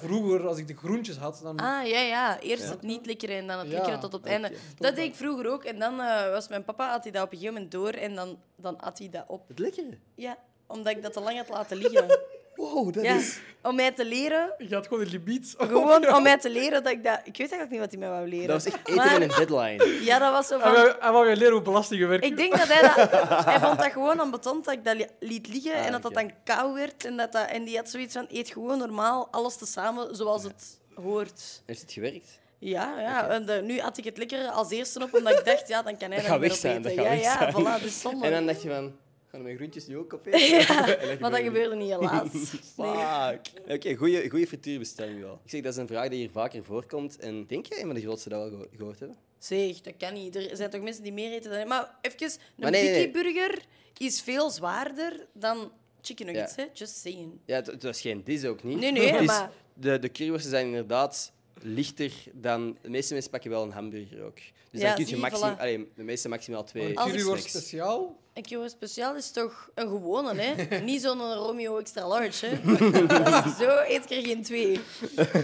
Vroeger, als ik de groentjes had, dan... Ah, ja, ja. Eerst het niet lekkere en dan het Mm. Ja, lekkere tot op het einde. wel. Dat deed ik vroeger ook. En dan eh, was mijn papa, had hij dat op een gegeven moment door en dan, dan at hij dat op. Het lekkere. Ja, omdat ik dat te lang had laten liggen. Wow, dat Ja, is... om mij te leren. Je had gewoon een limiet. Gewoon om mij te leren dat ik dat... Ik weet eigenlijk niet wat hij mij wou leren. Dat was echt Ah, eten Maar- met een deadline. Ja, dat was zo En van... wou- en wou je leren hoe belastingen werken. Ik denk dat hij dat... Hij vond dat gewoon ambetant dat ik dat li- liet liggen Ah, en dat dat oké. dan kou werd. En, dat dat, en die had zoiets van, eet gewoon normaal alles tezamen zoals het hoort. Heeft het gewerkt? Ja, ja. En eh, nu had ik het lekker als eerste op, omdat ik dacht, ja, dan kan hij Dat dat gaat niet meer weg zijn, opeten. dat gaat ja, weg ja, zijn. voilà, dus zonde. En dan dacht je van, gaan mijn groentjes nu ook opeten? En Maar dat niet. gebeurde niet, helaas. Nee. Fuck. Oké, goede goede frituurbestelling wel. Ik zeg, dat is een vraag die hier vaker voorkomt. En denk jij een van de grootste dat we al geho- gehoord hebben? Zeg, dat kan niet. Er zijn toch mensen die meer eten dan... Maar even, een Maar nee, nee, nee. Biggie burger is veel zwaarder dan chicken nuggets, Ja. hè? Just saying. Ja, het, het was geen dis ook niet. Nee, nee, dus maar- De, de curryworsten zijn inderdaad lichter dan... De meeste mensen pakken wel een hamburger ook. Dus Ja, dan kun je zie, maximaal... voilà. de meeste maximaal twee Een curryworst snacks. speciaal. Een curry speciaal is toch een gewone, hè? niet zo'n Romeo extra large, hè? Dat is zo eet ik er geen twee.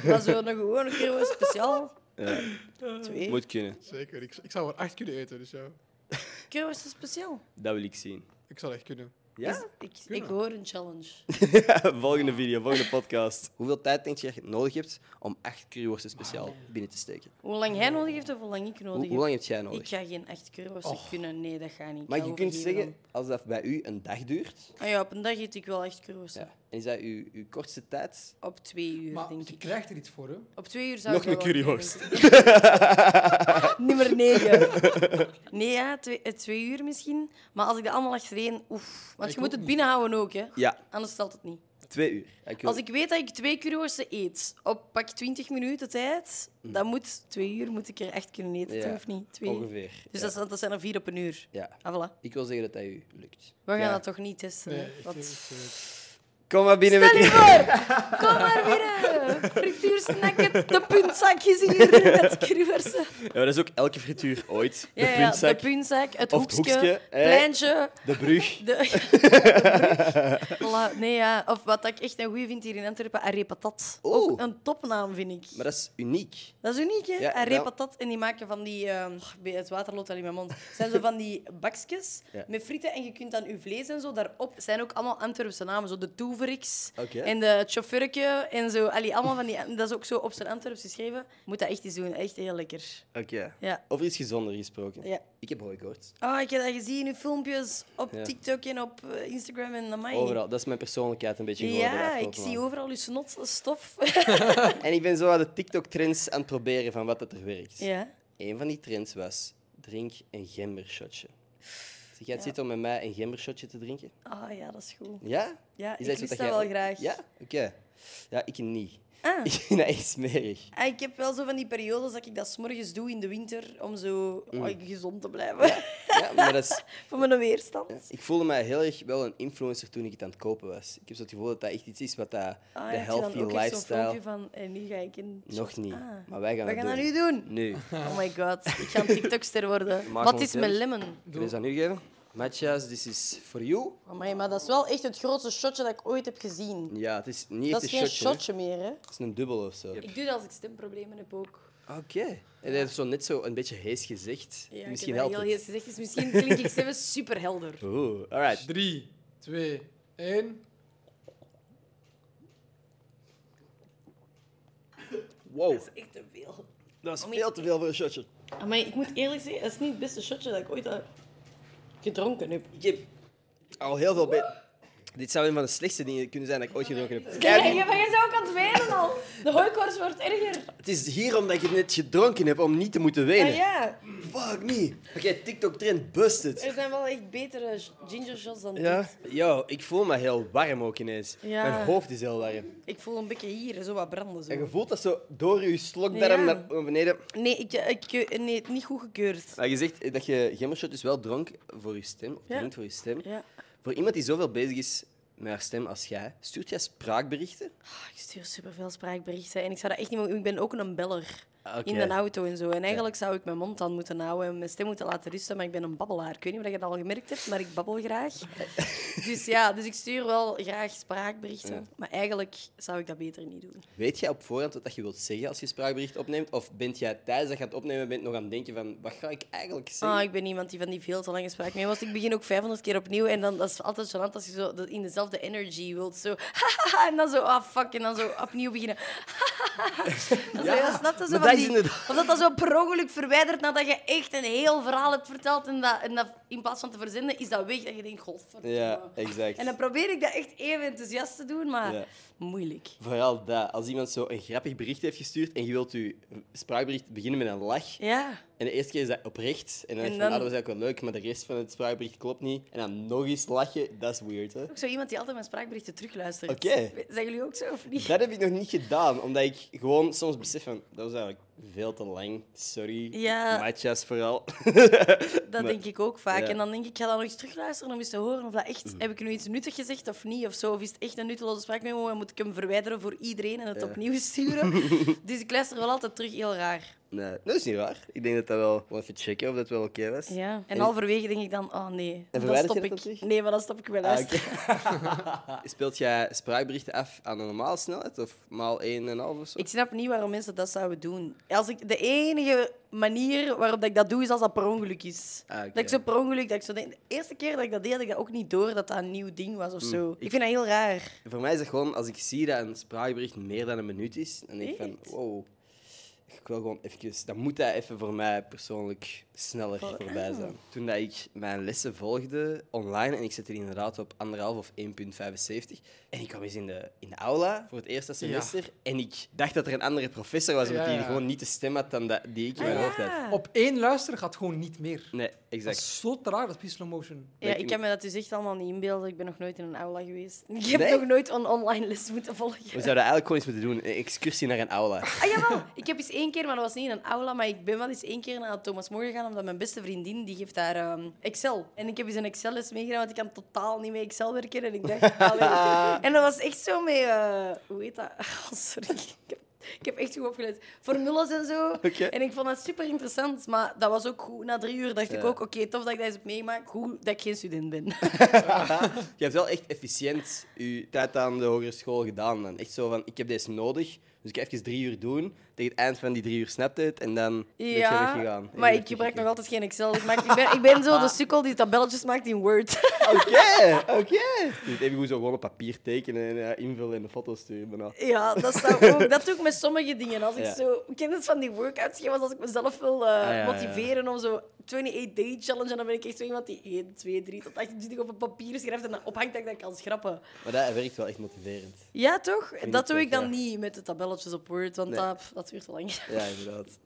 Maar zo'n gewone curry speciaal... Twee. Moet kunnen. Zeker, ik, ik zou er acht kunnen eten, dus ja, Curry speciaal. Dat wil ik zien. ik zou echt kunnen. Ja? Ik, ik hoor een challenge. volgende video, volgende podcast. Hoeveel tijd denk je dat je nodig hebt om acht curryworsten speciaal binnen te steken? Hoe lang hij nodig heeft of hoe lang ik Hoe, Ah, nodig hoe heb? lang heb jij Ik nodig? ga geen echt curryworsten kunnen. Nee, dat gaat niet. Ik Maar ga je kunt overgeven zeggen, als dat bij u een dag duurt... dan. Ah ja, op een dag eet ik wel echt curryworsten. Ja. En is dat uw, uw kortste tijd? Op twee uur, Maar denk je ik. krijgt er iets voor, hè. Op twee uur zou Nog ik wel een wat curryhorst. kunnen. Nummer negen. Nee, ja, twee, eh, twee uur misschien. Maar als ik dat allemaal achtereen... Oef. Want Ik je moet ook het niet. binnenhouden ook, hè. Ja, Anders stelt het niet. twee uur. Ik wil- Als ik weet dat ik twee curryworsten eet op pak 20 minuten tijd, dan moet twee uur moet ik er echt kunnen eten, Mm. Ja, toch of niet? Twee. uur. Ongeveer. Dus ja. dat, is- dat zijn er vier op een uur. Ja. Ah, voilà. Ik wil zeggen dat dat u lukt. We gaan Ja. eh, dat toch niet testen, hè? Dat- Kom maar binnen met Stel je voor! Kom maar binnen! Frituursnacken, de puntzak is hier met curryworsten. Ja, maar dat is ook elke frituur ooit. De Ja, ja, puntzak, de puntzak, het Of het hoekje, hoekje, het hè. pleintje. de brug. De, Voilà, nee, ja. Of wat ik echt een goeie vind hier in Antwerpen, arepatat. Oh. Ook een topnaam, vind ik. Maar dat is uniek. Dat is uniek, hè? Ja, nou. Ja, wel. patat en die maken van die... ehm, oh, het water loopt al in mijn mond. Het zijn zo van die bakjes Ja. met frieten en je kunt dan je vlees en zo daarop... Het zijn ook allemaal Antwerpse namen, zo de Toeveriks Oké. en de het chauffeurke en zo. Allee, allemaal van die... Dat is ook zo op zijn Antwerps geschreven. Moet dat echt eens doen. Echt heel lekker. Oké. Ja. Over iets gezonder gesproken. Ja. Ik heb hooikoorts. Ah, ik heb dat gezien in filmpjes op Ja. TikTok en op eh, Instagram en amai. Overal. Dat is mijn persoonlijkheid een beetje geworden. de Ja, ik afgelopen zie maanden. overal je eh, snotstof. En ik ben zo aan de TikTok-trends aan het proberen van wat dat er werkt. ja. Een van die trends was, drink een gembershotje. Zeg jij het zitten om met mij een gembershotje te drinken? Ah ja, dat is goed. Ja? Ja, Is ik iets wat lust dat jij wel ook- graag. Ja? Oké. Ja, ik niet. Ah. Ik vind dat echt smerig. Ah, ik heb wel zo van die periodes dat ik dat 's morgens doe in de winter om zo oh, gezond te blijven Mm. Ja, maar dat is, voor mijn weerstand. ik voelde mij heel erg wel een influencer toen ik het aan het kopen was. Ik heb zo het gevoel dat dat echt iets is wat dat, Ah, de heb je dan healthy ook echt zo'n lifestyle... filmpje van en nu ga ik in Nog niet, Ah. maar wij gaan We het gaan dat doen. nu doen. Nu. Oh my god, ik ga een TikTokster worden. Maak Wat ons is mijn zelf. lemon? Kun je dat nu geven? Matjas, this is for you. Amai, maar dat is wel echt het grootste shotje dat ik ooit heb gezien. Ja, het is niet Dat echt is een geen shotje. hè. shotje meer, hè? Het is een dubbel of zo. Ik doe dat als ik stemproblemen heb ook. Oké. En hij heeft zo net zo een beetje hees gezegd. Ja, Misschien ik heb helpt het. dat heel eerst gezegd. Dus misschien klink ik zelf superhelder. Oeh, alright. Drie, twee, één. Wow, Dat is echt te veel. dat is veel te veel voor een shotje. Maar ik moet eerlijk zeggen, dat is niet het beste shotje dat ik ooit heb gedronken heb. Ik heb al heel veel... be- Dit zou een van de slechtste dingen kunnen zijn dat ik ooit gedronken heb. Ja, Kijk, je maar je bent ook aan het wenen al. De hooikoorts wordt erger. het is hierom dat ik het net gedronken heb om niet te moeten Ja, wenen. Ah, ja, Fuck me. Oké, TikTok-trend busted. er zijn wel echt betere sh- ginger shots dan Ja? dit. Yo, ik voel me heel warm ook ineens. Ja. Mijn hoofd is heel warm. Ik voel een beetje hier, zo wat branden. En je Zo. voelt dat zo door je slokdarm Ja. naar beneden. Nee, ik, ik, nee, het niet goed gekeurd. Maar je zegt dat je gemmershot dus wel dronk voor je stem. Of Ja. drinkt voor je stem. Ja. Voor iemand die zoveel bezig is met haar stem als jij, stuurt jij spraakberichten? Ah, ik stuur superveel spraakberichten en ik zou dat echt niet mogen... Ik ben ook een beller Ah, oké. in de auto en zo. En eigenlijk zou ik mijn mond aan moeten houden en mijn stem moeten laten rusten, maar ik ben een babbelaar. Ik weet niet of je dat al gemerkt hebt, maar ik babbel graag. dus ja, dus ik stuur wel graag spraakberichten. Maar eigenlijk zou ik dat beter niet doen. Weet jij op voorhand wat dat je wilt zeggen als je spraakbericht opneemt? Of bent jij tijdens dat je gaat opnemen bent nog aan het denken van wat ga ik eigenlijk zeggen? Ah, ik ben iemand die van die veel te lange spraak mee was. Ik begin ook 500 keer opnieuw en dan dat is altijd gênant als je zo dat in dezelfde energy wilt. Zo, en dan zo, ah fuck, en dan zo opnieuw beginnen. dat is Ja, heel snap je, maar zo van dat is die, inderdaad- Of dat dat zo per ongeluk verwijdert nadat je echt een heel verhaal hebt verteld en dat, en dat in plaats van te verzenden is dat weg dat je denkt, godverdomme. ja, exact. En dan probeer ik dat echt even enthousiast te doen, maar Ja. moeilijk. Vooral dat, als iemand zo een grappig bericht heeft gestuurd en je wilt je spraakbericht beginnen met een lach. Ja. En de eerste keer is dat oprecht. En dan En denk je van, dan- ah, dat was eigenlijk wel leuk, maar de rest van het spraakbericht klopt niet. En dan nog eens lachen, dat is weird, hè? Ook zo iemand die altijd mijn spraakberichten terugluistert. Oké. Zijn jullie ook zo of niet? Dat heb ik nog niet gedaan, omdat ik gewoon soms besef van, dat was eigenlijk veel te lang. Sorry. Ja. Matjas vooral. Dat denk ik ook vaak. ja. Mm. En dan denk ik, ik ga dat nog eens terugluisteren om eens te horen of dat echt... Heb ik nu iets nuttig gezegd of niet? Of, zo? of is het echt een nutteloze spraakmemo en moet ik hem verwijderen voor iedereen en het Ja. opnieuw sturen? dus ik luister wel altijd terug, heel raar. Nee, dat is niet waar. Ik denk dat dat wel... Wel even checken of dat wel oké was. Ja. En En- halverwege denk ik dan, oh nee, dan verwijder je stop dat ik. dan terug? Nee, maar dan stop ik wel Ah, luisteren. oké. Speelt jij spraakberichten af aan een normale snelheid? Of maal 1,5 of zo? Ik snap niet waarom mensen dat zouden doen. Als ik, de enige manier waarop dat ik dat doe, is als dat per ongeluk is. Ah, oké. Dat ik zo per ongeluk... Dat ik zo denk, de eerste keer dat ik dat deed, had ik dat ook niet door dat dat een nieuw ding was Mm. of zo. Ik vind dat heel raar. Voor mij is dat gewoon, als ik zie dat een spraakbericht meer dan een minuut is, dan denk ik van, Echt? wow, ik wil gewoon even, dan moet dat even voor mij persoonlijk sneller voorbij zijn. Toen dat ik mijn lessen volgde online, en ik zette die inderdaad op anderhalf of 1,75, en ik kwam eens in de, in de aula voor het eerste semester, en ik dacht dat er een andere professor was, omdat Ja, die ja. gewoon niet de stem had dan dat, die Ah, ik in mijn hoofd had. Op één luisteren gaat gewoon niet meer. Nee, Dat exact. is zo te raar, dat is slow motion. Ja, Dat ik ik- kan me dat dus echt allemaal niet inbeelden. Ik ben nog nooit in een aula geweest. Ik heb Nee? nog nooit een online les moeten volgen. We zouden eigenlijk gewoon eens moeten doen, een excursie naar een aula. Ah, jawel. Ik heb eens één keer, maar dat was niet in een aula, maar ik ben wel eens één keer naar Thomas More gegaan, omdat mijn beste vriendin, die geeft daar ehm, Excel. En ik heb eens een Excel-les meegedaan, want ik kan totaal niet met Excel werken. En ik dacht, allee. En dat was echt zo mee... eh, hoe heet dat? Oh, sorry. Ik heb, ik heb echt goed opgelet. Formules en zo. Oké. En ik vond dat super interessant, maar dat was ook goed. Na drie uur dacht ik Ja. ook, oké, tof dat ik dat eens heb meegemaakt. Goed dat ik geen student ben. Je hebt wel echt efficiënt je tijd aan de hogere school gedaan. Dan. Echt zo van, ik heb deze nodig, dus ik ga even drie uur doen. Tegen het eind van die drie uur snapte het en dan ben je weggegaan. En maar je ik bent gebruik nog weggegaan. altijd geen Excel. Ik, maak, ik, ben, ik ben zo de sukkel die tabelletjes maakt in Word. Oké, oké. Je moet even goed zo gewoon op papier tekenen en eh, invullen en een foto sturen. nou. daarna. ja, dat, zou ook, dat doe ik met sommige dingen. Als ik Ja. Ah, zo... Ik ken het van die workout-schema's, als ik mezelf wil eh, ja, ja. motiveren om zo 28-day challenge, en dan ben ik echt zo iemand die 1, 2, 3 tot 28 op een papier schrijft en dan ophangt dat ik dat kan schrappen. Maar dat werkt wel echt motiverend. Ja, toch? ik Dat doe ook, ik dan ja. niet met de tabelletjes op Word, want Nee. dat, pff, dat duurt te lang. Ja, inderdaad.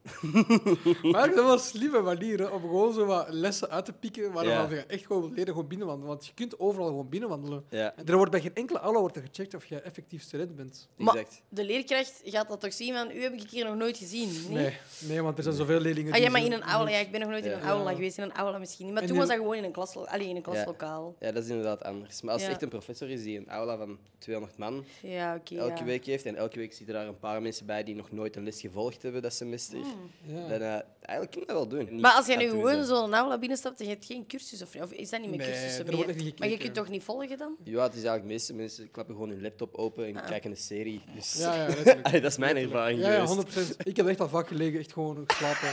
Maar dat was een slimme manier hè, om gewoon zo wat lessen uit te pikken waar Ja. je echt gewoon wilt leren gewoon binnenwandelen. Want je kunt overal gewoon binnenwandelen. Ja, En er wordt bij geen enkele aula wordt er gecheckt of je effectief student bent. Maar exact. de leerkracht gaat dat toch zien, van u heb ik hier nog nooit gezien. Nee. Nee, nee want er zijn zoveel leerlingen Ah, ja, die maar zo- in een aula. Ja, ik ben nog nooit in Ja. een aula Ja. geweest. In een aula misschien niet. Maar En toen in- was dat gewoon in een, klaslo allee, in een klaslokaal. Ja, dat is inderdaad anders. Maar als het Ja. echt een professor is die een aula van 200 man Ja, oké. elke ja. week heeft, en elke week zitten daar een paar mensen bij die nog nooit een les gevolgd hebben dat semester, Ja. dan eh, eigenlijk kun je dat wel doen. Niet Hmm. Maar als jij nu naartoe gewoon zijn. zo'n aula binnenstapt en je hebt geen cursus of, of is dat niet meer Nee, cursussen er meer? wordt echt niet maar je gekeken. kunt toch niet volgen dan? Ja, het is eigenlijk de meeste mensen klappen gewoon hun laptop open en kijken een serie. Dus... Ja, ja, letterlijk. Allee, dat is mijn ervaring Ja, ja, geweest. 100%. Ik heb echt al vaak gelegen, echt gewoon geslapen.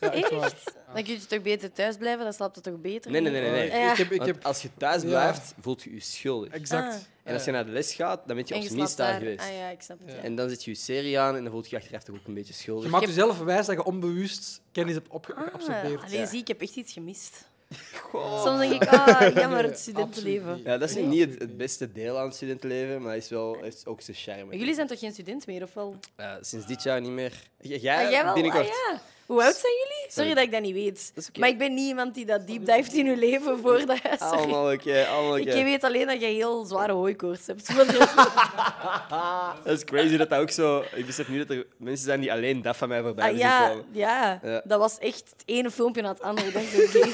Ja, echt waar. Dan kun je toch beter thuis blijven, dan slaapt het toch beter? Nee, nee, nee, nee. nee. Ja. Ik heb, ik Want heb als je thuis Ja. blijft, voelt je je schuldig. exact. Ah. En als je naar de les gaat, dan ben je En opnieuw slaapt daar. staan geweest. Ah ja, ik snap het. Ja. En dan zit je je serie aan en dan voelt je je achteraf toch ook een beetje Je schuldig. Ah. maakt jezelf wijs dat je onbewust kennis hebt opge- geabsorbeerd. alleen Ja. zie ik heb echt iets gemist. goh. Soms denk ik, ah, jammer, het absoluut studentenleven. niet. Ja, dat is nu niet het, het beste deel aan het studentenleven, maar is wel, heeft ook zijn charme. Maar jullie zijn toch geen student meer, of wel? Eh, sinds dit jaar niet meer. J- Jij, Ah, jij wel? binnenkort. Ah, ja. Hoe oud zijn jullie? Sorry, Sorry. dat ik dat niet weet. Dat is oké. Maar ik ben niet iemand die dat deep dive in hun leven voordat... Sorry. Allemaal oké, allemaal oké. Ik weet alleen dat jij heel zware hooikoorts hebt. Maar dat- Dat is crazy dat dat ook zo... Ik besef nu dat er mensen zijn die alleen dat van mij voorbij ah, hebben zien ja, komen. ja, Ja. dat was echt het ene filmpje na het andere. Dat is oké.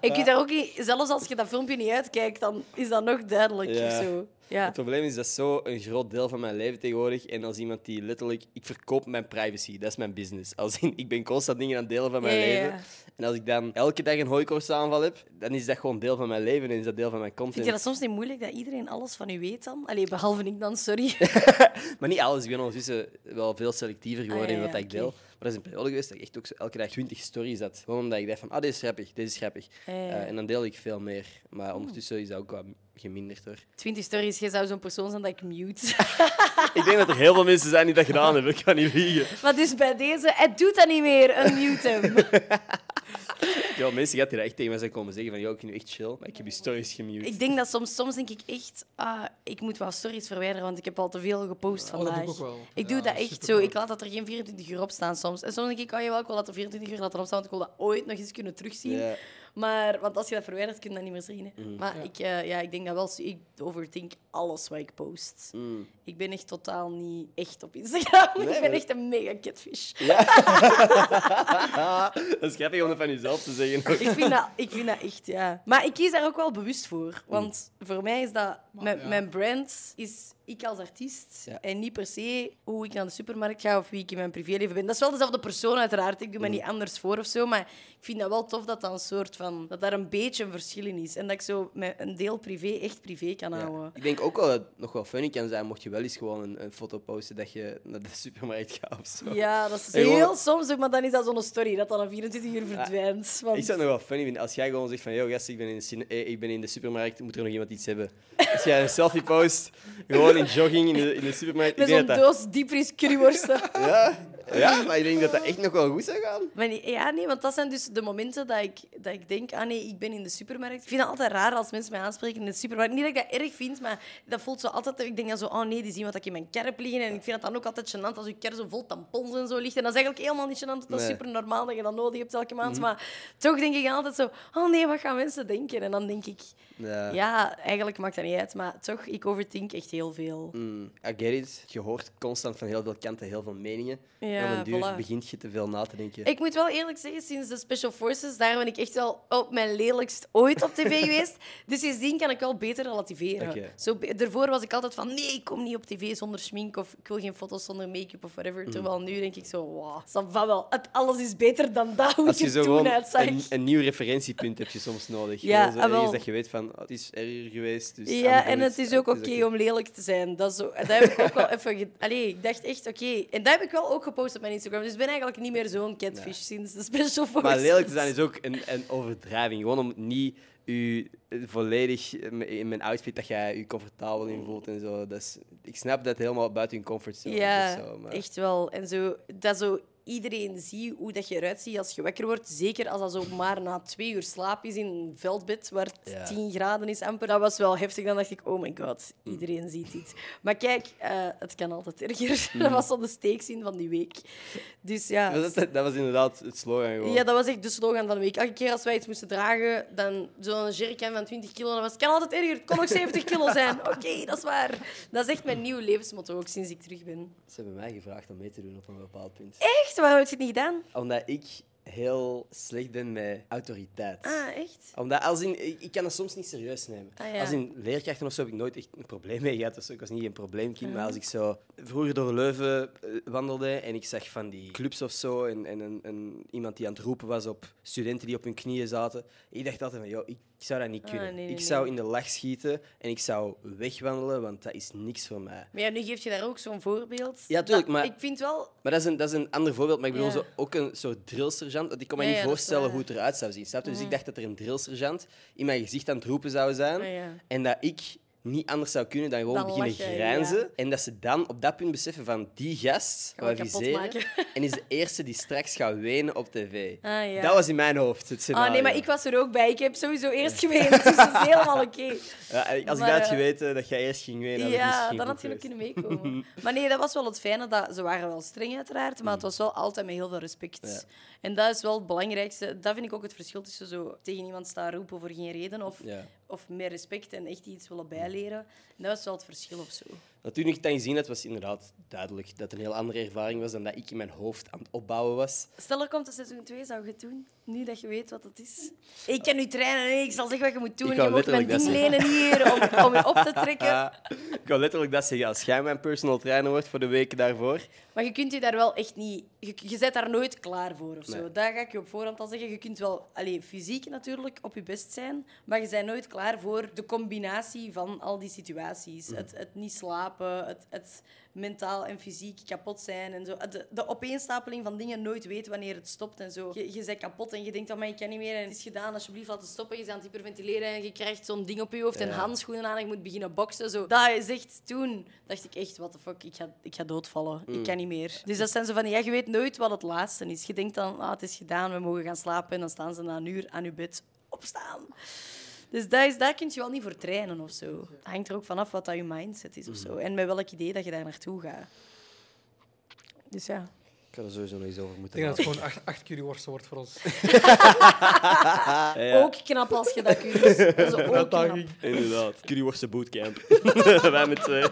Ik weet daar ook niet... Zelfs als je dat filmpje niet uitkijkt, dan is dat nog duidelijk Ja. of zo. Ja. Het probleem is dat is zo een groot deel van mijn leven tegenwoordig. En als iemand die letterlijk... Ik verkoop mijn privacy. Dat is mijn business. Als in, ik ben constant dingen aan het delen van mijn Ja, ja, ja. leven. En als ik dan elke dag een hooikorstaanval heb, dan is dat gewoon deel van mijn leven en is dat deel van mijn Vind content. je dat soms niet moeilijk dat iedereen alles van u weet dan? Allee, behalve ik dan, sorry. Maar niet alles. Ik ben ondertussen wel veel selectiever geworden Ah, ja, in wat ja, ik oké. deel. Maar dat is een periode geweest dat ik echt ook zo elke dag 20 stories had. Gewoon omdat ik dacht van, ah, dit is grappig, dit is grappig. Ja, ja, ja. Eh, en dan deel ik veel meer. Maar ondertussen is dat ook wat geminderd hoor. 20 stories, jij zou zo'n persoon zijn dat ik mute. ik denk dat er heel veel mensen zijn die dat gedaan hebben. Ik kan niet liegen. Maar dus bij deze, het doet dat niet meer, unmute hem. Ja, mensen gaat hier echt tegen mij zijn komen zeggen van, joh, ik vind je echt chill, maar ik heb je stories gemute. Ik denk dat soms, soms denk ik echt, ah, ik moet wel stories verwijderen, want ik heb al te veel gepost Oh, dat vandaag. doe ik ook wel. Ik doe Ja, dat echt zo. supercool. Ik laat dat er geen 24 uur op staan soms. En soms denk ik, oh jawel, ik wil dat er 24 uur laten opstaan, want ik wil dat ooit nog eens kunnen terugzien. Ja. Mm. Maar, want als je dat verwijdert, kun je dat niet meer zien. Hè. Maar Ja. Ik, eh, ja, ik denk dat wel. Ik overthink alles wat ik post. Mm. Ik ben echt totaal niet echt op Instagram. Nee, ik maar- ben echt een mega catfish. Dat is grappig om dat van jezelf te zeggen. Ik vind, dat, ik vind dat echt, ja. Maar ik kies daar ook wel bewust voor. Want voor mij is dat... mijn, ja. mijn brand is ik als artiest. Ja. En niet per se hoe ik naar de supermarkt ga of wie ik in mijn privéleven ben. Dat is wel dezelfde persoon, uiteraard. Ik doe me Mm. niet anders voor of zo. Maar ik vind dat wel tof dat, dat, een soort van, dat daar een beetje een verschil in is. En dat ik zo mijn- een deel privé echt privé kan houden. Ik denk ook wel dat het nog wel funny kan zijn mocht je wel eens gewoon een, een foto posten dat je naar de supermarkt gaat of zo. Ja, dat is En gewoon- heel soms ook, maar dan is dat zo'n story dat dan na 24 uur verdwijnt. Want... Ah, Ik zou het nog wel funny vinden als jij gewoon zegt van... Yo, gast, ik ben in de, cine- eh, ik ben in de supermarkt, moet er nog iemand iets hebben? Als jij een selfie post, gewoon in jogging in de, in de supermarkt. Ik Met denk zo'n dat dat- doos diepvries curryworsten. Ja, ja, maar ik denk dat dat echt nog wel goed zou gaan. Maar nee, ja, nee, want dat zijn dus de momenten dat ik, dat ik denk, ah nee, ik ben in de supermarkt. Ik vind het altijd raar als mensen mij aanspreken in de supermarkt. Niet dat ik dat erg vind, maar dat voelt zo altijd... Ik denk dan zo, oh nee, die zien wat ik in mijn kerp liggen. En ik vind het dan ook altijd gênant als je kerp zo vol tampons en zo ligt. En dat is eigenlijk helemaal niet gênant, want dat is Nee. Mhm. super normaal dat je dat nodig hebt elke maand. Maar toch denk ik altijd zo, oh nee, wat gaan mensen denken? En dan denk ik, Ja. ja, eigenlijk maakt dat niet uit. Maar toch, ik overthink echt heel veel. Mm, I get it. Je hoort constant van heel veel kanten heel veel meningen. Ja, en op een duur voilà. begint je te veel na te denken. Ik moet wel eerlijk zeggen, sinds de Special Forces, daar ben ik echt wel op mijn lelijkst ooit op tv geweest. Dus sindsdien kan ik wel beter relativeren. Oké. Zo, be- daarvoor was ik altijd van, nee, ik kom niet op tv zonder schmink of ik wil geen foto's zonder make-up of whatever. Mm. Terwijl nu denk ik zo, wow, ça va wel. Het, alles is beter dan dat, hoe Als ik je er zo toen gewoon uitzag. een, een nieuw referentiepunt heb je soms nodig. Ja, Gewoon zo ah, wel. ergens dat je weet van, oh, het is erger geweest. Dus I'm Ja, good. en het is ook oké om lelijk te zijn. Dat, is zo, dat heb ik ook wel even... ge- Allee, ik dacht echt, oké. En dat heb ik wel ook gepost op mijn Instagram. Dus ik ben eigenlijk niet meer zo'n catfish Nee. sinds de Special Forces. Maar lelijk te zijn is ook een, een overdrijving. Gewoon om niet u eh, volledig in in mijn outfit dat jij je comfortabel in voelt en zo. Dat is, ik snap dat helemaal buiten je comfortzone is. Ja, of dus Zo, maar echt wel. En zo, dat zo iedereen ziet hoe dat je eruit ziet als je wakker wordt. Zeker als dat zo maar na twee uur slaap is in een veldbed waar het Ja. 10 graden is amper. Dat was wel heftig. Dan dacht ik, oh my god, iedereen ziet dit. Maar kijk, eh, het kan altijd erger. Dat was zo de steekzin van die week. Dus ja... Maar Dat, dat, dat was inderdaad het slogan gewoon. Ja, dat was echt de slogan van de week. Elke keer als wij iets moesten dragen, dan zo'n jerrycan van 20 kilo. Dan was het kan altijd erger, het kon ook 70 kilo zijn. Oké, dat is waar. Dat is echt mijn nieuw levensmotto, ook sinds ik terug ben. Ze hebben mij gevraagd om mee te doen op een bepaald punt. Echt? Waarom heb je het niet gedaan? Omdat ik heel slecht ben met autoriteit. Ah, echt? Omdat, als in, ik, ik kan dat soms niet serieus nemen. Ah, ja. Als in leerkrachten of zo heb ik nooit echt een probleem mee gehad. of zo. Ik was niet een probleemkind, Mhm. maar als ik zo vroeger door Leuven eh, wandelde en ik zag van die clubs of zo en, en, een- een- iemand die aan het roepen was op studenten die op hun knieën zaten, ik dacht altijd van, joh, ik, ik zou dat niet Ah, kunnen. nee, nee, ik nee. zou in de lach schieten en ik zou wegwandelen, want dat is niks voor mij. Maar ja, nu geef je daar ook zo'n voorbeeld. Ja, tuurlijk, Dat- maar- Ik vind wel... Maar dat is, een, dat is een ander voorbeeld. Maar ik bedoel Ja. zo, ook een soort drillsergeant. Want ik kon me Ja, niet ja, dat is voorstellen waar. Mhm. hoe het eruit zou zien. Snap je? Dus ik dacht dat er een drillsergeant in mijn gezicht aan het roepen zou zijn. Ah, ja. En dat ik niet anders zou kunnen dan gewoon Dan beginnen lachen, grijnzen. En dat ze dan op dat punt beseffen van die gast Gaan we gaan we kapot viseren maken. en is de eerste die straks gaat wenen op tv. Ah, ja. Dat was in mijn hoofd het scenario. Ah, nee, maar ik was er ook bij. Ik heb sowieso eerst geweend, dus dat is helemaal oké. Ja, als ik Maar, dat had eh, geweten dat jij eerst ging wenen, had ik Ja, misschien dan goed had je nog geweest. kunnen meekomen. Maar nee, dat was wel het fijne. Dat, ze waren wel streng, uiteraard, maar het was wel altijd met heel veel respect. Mm. Ja. En dat is wel het belangrijkste. Dat vind ik ook het verschil tussen zo tegen iemand staan roepen voor geen reden of, Ja. of meer respect en echt iets willen bijleren. En dat was wel het verschil of zo. Maar toen ik het dan gezien had, was inderdaad duidelijk dat het een heel andere ervaring was dan dat ik in mijn hoofd aan het opbouwen was. Stel, er komt een seizoen 2, zou je het doen? Nu dat je weet wat het is. Ik ken nu trainen, nee, ik zal zeggen wat je moet doen. Ik Je wou moet mijn ding letterlijk lenen hier om, om je op te trekken. Ah, ik wil letterlijk dat zeggen. Als jij mijn personal trainer wordt voor de weken daarvoor, Maar je kunt je daar wel echt niet... Je, je bent daar nooit klaar voor of zo. Nee. Daar ga ik je op voorhand al zeggen. Je kunt wel allee, fysiek natuurlijk op je best zijn, maar je bent nooit klaar voor de combinatie van al die situaties. Mm. Het, het niet slapen, het, het mentaal en fysiek kapot zijn en zo. De, de opeenstapeling van dingen, nooit weten wanneer het stopt en zo. Je, je bent kapot en je denkt, "Oh, maar ik kan niet meer en het is gedaan, alsjeblieft laat het stoppen. Je bent aan het hyperventileren en je krijgt zo'n ding op je hoofd en Ja. handschoenen aan en je moet beginnen boksen. Zo. Dat is echt toen, dacht ik echt, what the fuck, ik ga, ik ga doodvallen. Mm. Ik kan niet meer. Dus dat zijn zo van, ja, je weet nooit wat het laatste is. Je denkt dan, ah, het is gedaan, we mogen gaan slapen. En dan staan ze na een uur aan je bed opstaan. Dus daar, is, daar kun je wel niet voor trainen of zo. Het hangt er ook vanaf wat dat je mindset is of Mhm. zo. En met welk idee dat je daar naartoe gaat. Dus ja. ik had er sowieso nog eens over Ik moeten denk dat het gewoon acht, acht kilo worst wordt voor ons. Ja, ja. Ook knap als je dat kunt. Dat is ook knap. Inderdaad. Jullie wordt zijn bootcamp. Wij met twee.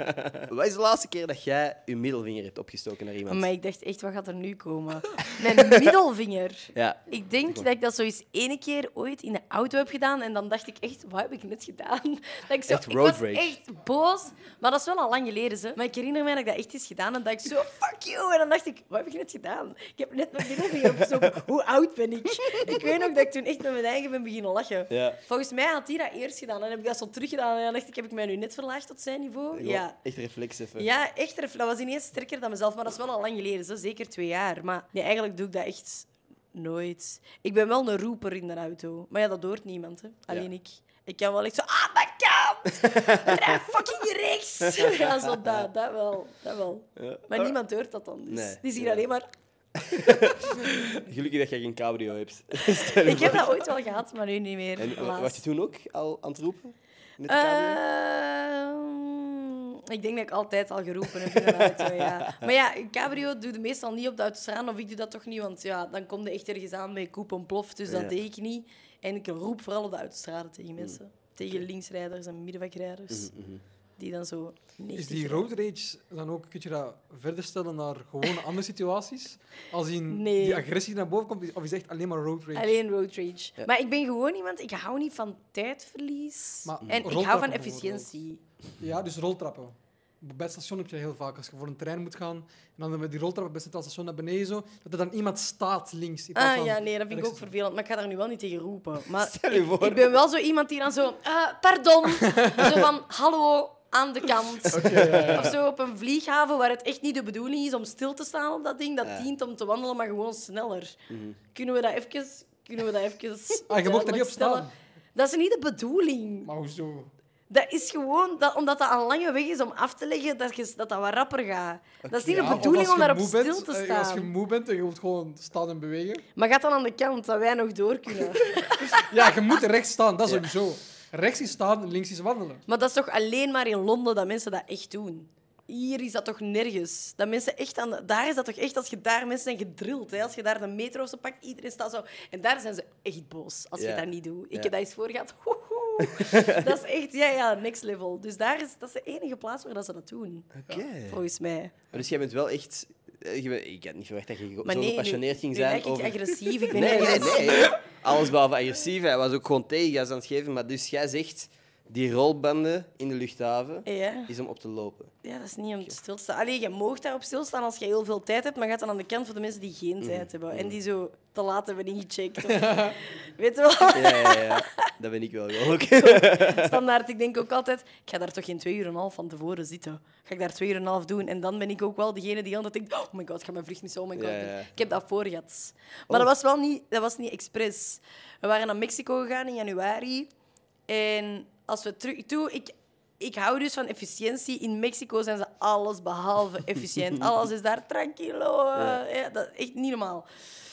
Wat is de laatste keer dat jij je middelvinger hebt opgestoken naar iemand? Maar ik dacht echt, wat gaat er nu komen? Mijn middelvinger. Ja. Ik denk dat ik dat zoiets ene keer ooit in de auto heb gedaan. En dan dacht ik echt, wat heb ik net gedaan? Dat ik zo, Echt ik road was rage. echt boos. Maar dat is wel al lang geleden. Ze. Maar ik herinner mij dat ik dat echt eens gedaan. En dat ik zo, fuck you. En dan dacht ik, wat heb ik net gedaan? Ik heb net mijn middelvinger opgestoken. Hoe oud ben ik? Ik weet nog dat ik toen echt met mijn eigen ben beginnen lachen. Ja. Volgens mij had hij dat eerst gedaan. En dan heb ik dat zo teruggedaan. En dan dacht ik, heb ik mij nu net verlaagd tot zijn niveau? Gewoon Ja. Echt reflex even. Ja, echt. ref- Dat was ineens sterker dan mezelf, maar dat is wel al lang geleden. Zo zeker twee jaar. Maar nee, eigenlijk doe ik dat echt nooit. Ik ben wel een roeper in de auto. Maar ja, dat hoort niemand. Hè. Alleen ik. Ik kan wel echt zo... Ah, dat kan! Rij fucking rechts! Ja, zo dat. Dat wel. Dat wel. Ja. Maar niemand hoort dat dan. Dus. Oh. Nee. Die zien alleen maar... Ah, Gelukkig dat jij geen cabrio hebt. Ik heb dat ooit wel gehad, maar nu niet meer. En wa- helaas. Eh, was je toen ook al aan het roepen? Met de cabrio? Ehm, ik denk dat ik altijd al geroepen heb in de auto, ja. Maar ja, een cabrio doe je meestal niet op de autostraan, of ik doe dat toch niet, want ja, dan kom je echt ergens aan bij koep en plof, dus Ja. dat deed ik niet. En ik roep vooral op de autostrade tegen mensen. Mm. Tegen linksrijders en middenwegrijders. Mm-hmm. Mhm, Die dan zo... Is 90 die road rage dan ook, kun je dat verder stellen naar gewone andere situaties? Als in Nee. die agressie naar boven komt, is- of is het echt alleen maar road rage? Alleen road rage. Ja. Maar ik ben gewoon iemand... Ik hou niet van tijdverlies. Maar en ik hou roltrappen van bijvoorbeeld. efficiëntie. Ja, dus roltrappen. Bij het station heb je dat heel vaak. Als je voor een trein moet gaan en dan met die roltrap bij het centraal station naar beneden, zo, dat er dan iemand staat links. in plaats Ah van ja, nee, dat vind ik rechts. ook vervelend. Maar ik ga daar nu wel niet tegen roepen. Maar Stel je ik, voor. ik ben wel zo iemand die dan zo... eh, pardon. zo van, hallo, aan de kant. Of zo op een vlieghaven waar het echt niet de bedoeling is om stil te staan op dat ding. Dat Ja. dient om te wandelen, maar gewoon sneller. Kunnen we dat even... Kunnen we dat even Mhm. Ah, je mocht er niet op duidelijk stellen? staan. Dat is niet de bedoeling. Maar hoezo? Dat is gewoon dat, omdat dat een lange weg is om af te leggen, dat je, dat, dat wat rapper gaat. dat is niet Ja, de of bedoeling als om je daarop moe stil bent, te eh, staan. Als je moe bent en je wilt gewoon staan en bewegen. Maar gaat dan aan de kant, dat wij nog door kunnen. Ja, je moet rechts staan, dat sowieso. Rechts is staan, links is wandelen. Maar dat is toch alleen maar in Londen dat mensen dat echt doen? Hier is dat toch nergens? Dat mensen echt aan de- daar is dat toch echt als je daar mensen zijn gedrild. Hè? Als je daar de metro of zo pakt, iedereen staat zo. En daar zijn ze echt boos als Ja. je dat niet doet. Ik Ja. heb dat eens voor gehad. Hoehoe. dat is echt, ja, ja, next level. Dus daar is, dat is de enige plaats waar dat ze dat doen, Oké. volgens mij. Maar Dus jij bent wel echt... eh, je bent- Ik had niet verwacht dat je Maar zo nee, gepassioneerd nu, ging nu zijn lijk ik over... agressief. Ik ben Nee, niet nee, agressief. nee. Alles behalve agressief. Hij was ook gewoon tegengas aan het geven. Maar dus jij zegt, die rolbanden in de luchthaven Ja. is om op te lopen. Ja, dat is niet om stil te staan. Allee, je mag daarop stilstaan als je heel veel tijd hebt, maar gaat dan aan de kant voor de mensen die geen Mhm. tijd hebben. En die zo te laat hebben ingecheckt. Of, weet je wel? Ja, ja, ja. Dat ben ik wel. wel. Oké. Standaard, ik denk ook altijd, ik ga daar toch geen twee uur en een half van tevoren zitten. Ga ik daar twee uur en een half doen? En dan ben ik ook wel degene die altijd denkt, oh my god, ik ga mijn vlucht missen, oh my god. Ja, ja, Oh. ja. Ik heb dat voor gehad. Maar dat was wel niet, dat was niet expres. We waren naar Mexico gegaan in januari. En als we terug... Toen, ik, ik hou dus van efficiëntie. In Mexico zijn ze alles behalve efficiënt. Alles is daar tranquilo. eh, ja, dat is echt niet normaal.